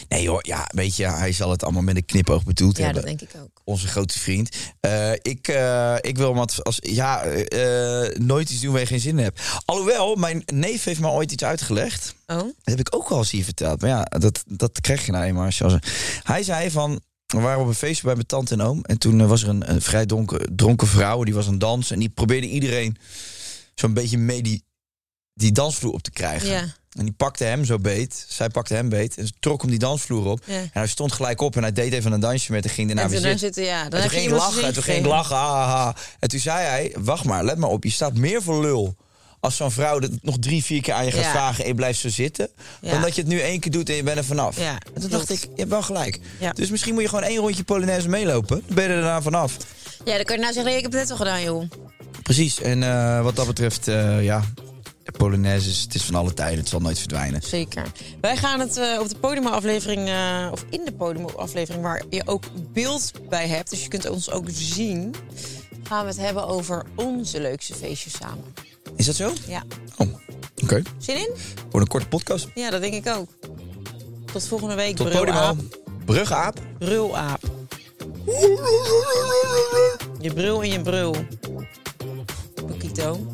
G: Nee joh, ja, weet je, hij zal het allemaal met een knipoog bedoeld
F: Ja,
G: hebben.
F: dat denk ik ook.
G: Onze grote vriend. Eh, ik, eh, ik wil hem als, als ja, eh, eh, nooit iets doen waar je geen zin in hebt. Alhoewel, mijn neef heeft me ooit iets uitgelegd.
F: Oh?
G: Dat heb ik ook al eens hier verteld. Maar ja, dat, dat krijg je nou eenmaal. Als je als een- Hij zei van, we waren op een feestje bij mijn tante en oom. En toen eh, was er een, een vrij donker, dronken vrouw, die was aan het dansen. En die probeerde iedereen zo'n beetje mee die, die dansvloer op te krijgen.
F: Ja.
G: En die pakte hem zo beet. Zij pakte hem beet. En ze trok hem die dansvloer op.
F: Ja.
G: En hij stond gelijk op en hij deed even een dansje met en ging daarna
F: en
G: weer
F: toen daar
G: zitten.
F: zitten, ja. Dan
G: En
F: heb je
G: toen ging ik
F: iemand
G: lachen.
F: zijn
G: En toen ging ik
F: gegeven.
G: lachen. ah, ah, ah. En toen zei hij, wacht maar, let maar op. Je staat meer voor lul als zo'n vrouw dat nog drie, vier keer aan je gaat
F: Ja.
G: vragen... en je blijft zo zitten,
F: Ja.
G: dan dat je het nu één keer doet en je bent er vanaf.
F: Ja,
G: en toen dacht ik,
F: klopt.
G: je hebt wel gelijk.
F: Ja.
G: Dus misschien moet je gewoon één rondje Polonaise meelopen. Dan ben je er daarna vanaf.
F: Ja, dan kan je nou zeggen, nee, ik heb het net al gedaan, joh.
G: Precies. En eh, wat dat betreft, eh, ja, de Polonaise is, het is van alle tijden. Het zal nooit verdwijnen.
F: Zeker. Wij gaan het eh, op de podiumaflevering, eh, of in de podiumaflevering, waar je ook beeld bij hebt, dus je kunt ons ook zien, gaan we het hebben over onze leukste feestjes samen.
G: Is dat zo?
F: Ja.
G: Oh, oké.
F: Zin in?
G: Voor een korte podcast.
F: Ja, dat denk ik ook. Tot volgende week,
G: Tot podium al.
F: brulaap.
G: Brugaap.
F: Brulaap. Je brul in je brul. Boekito.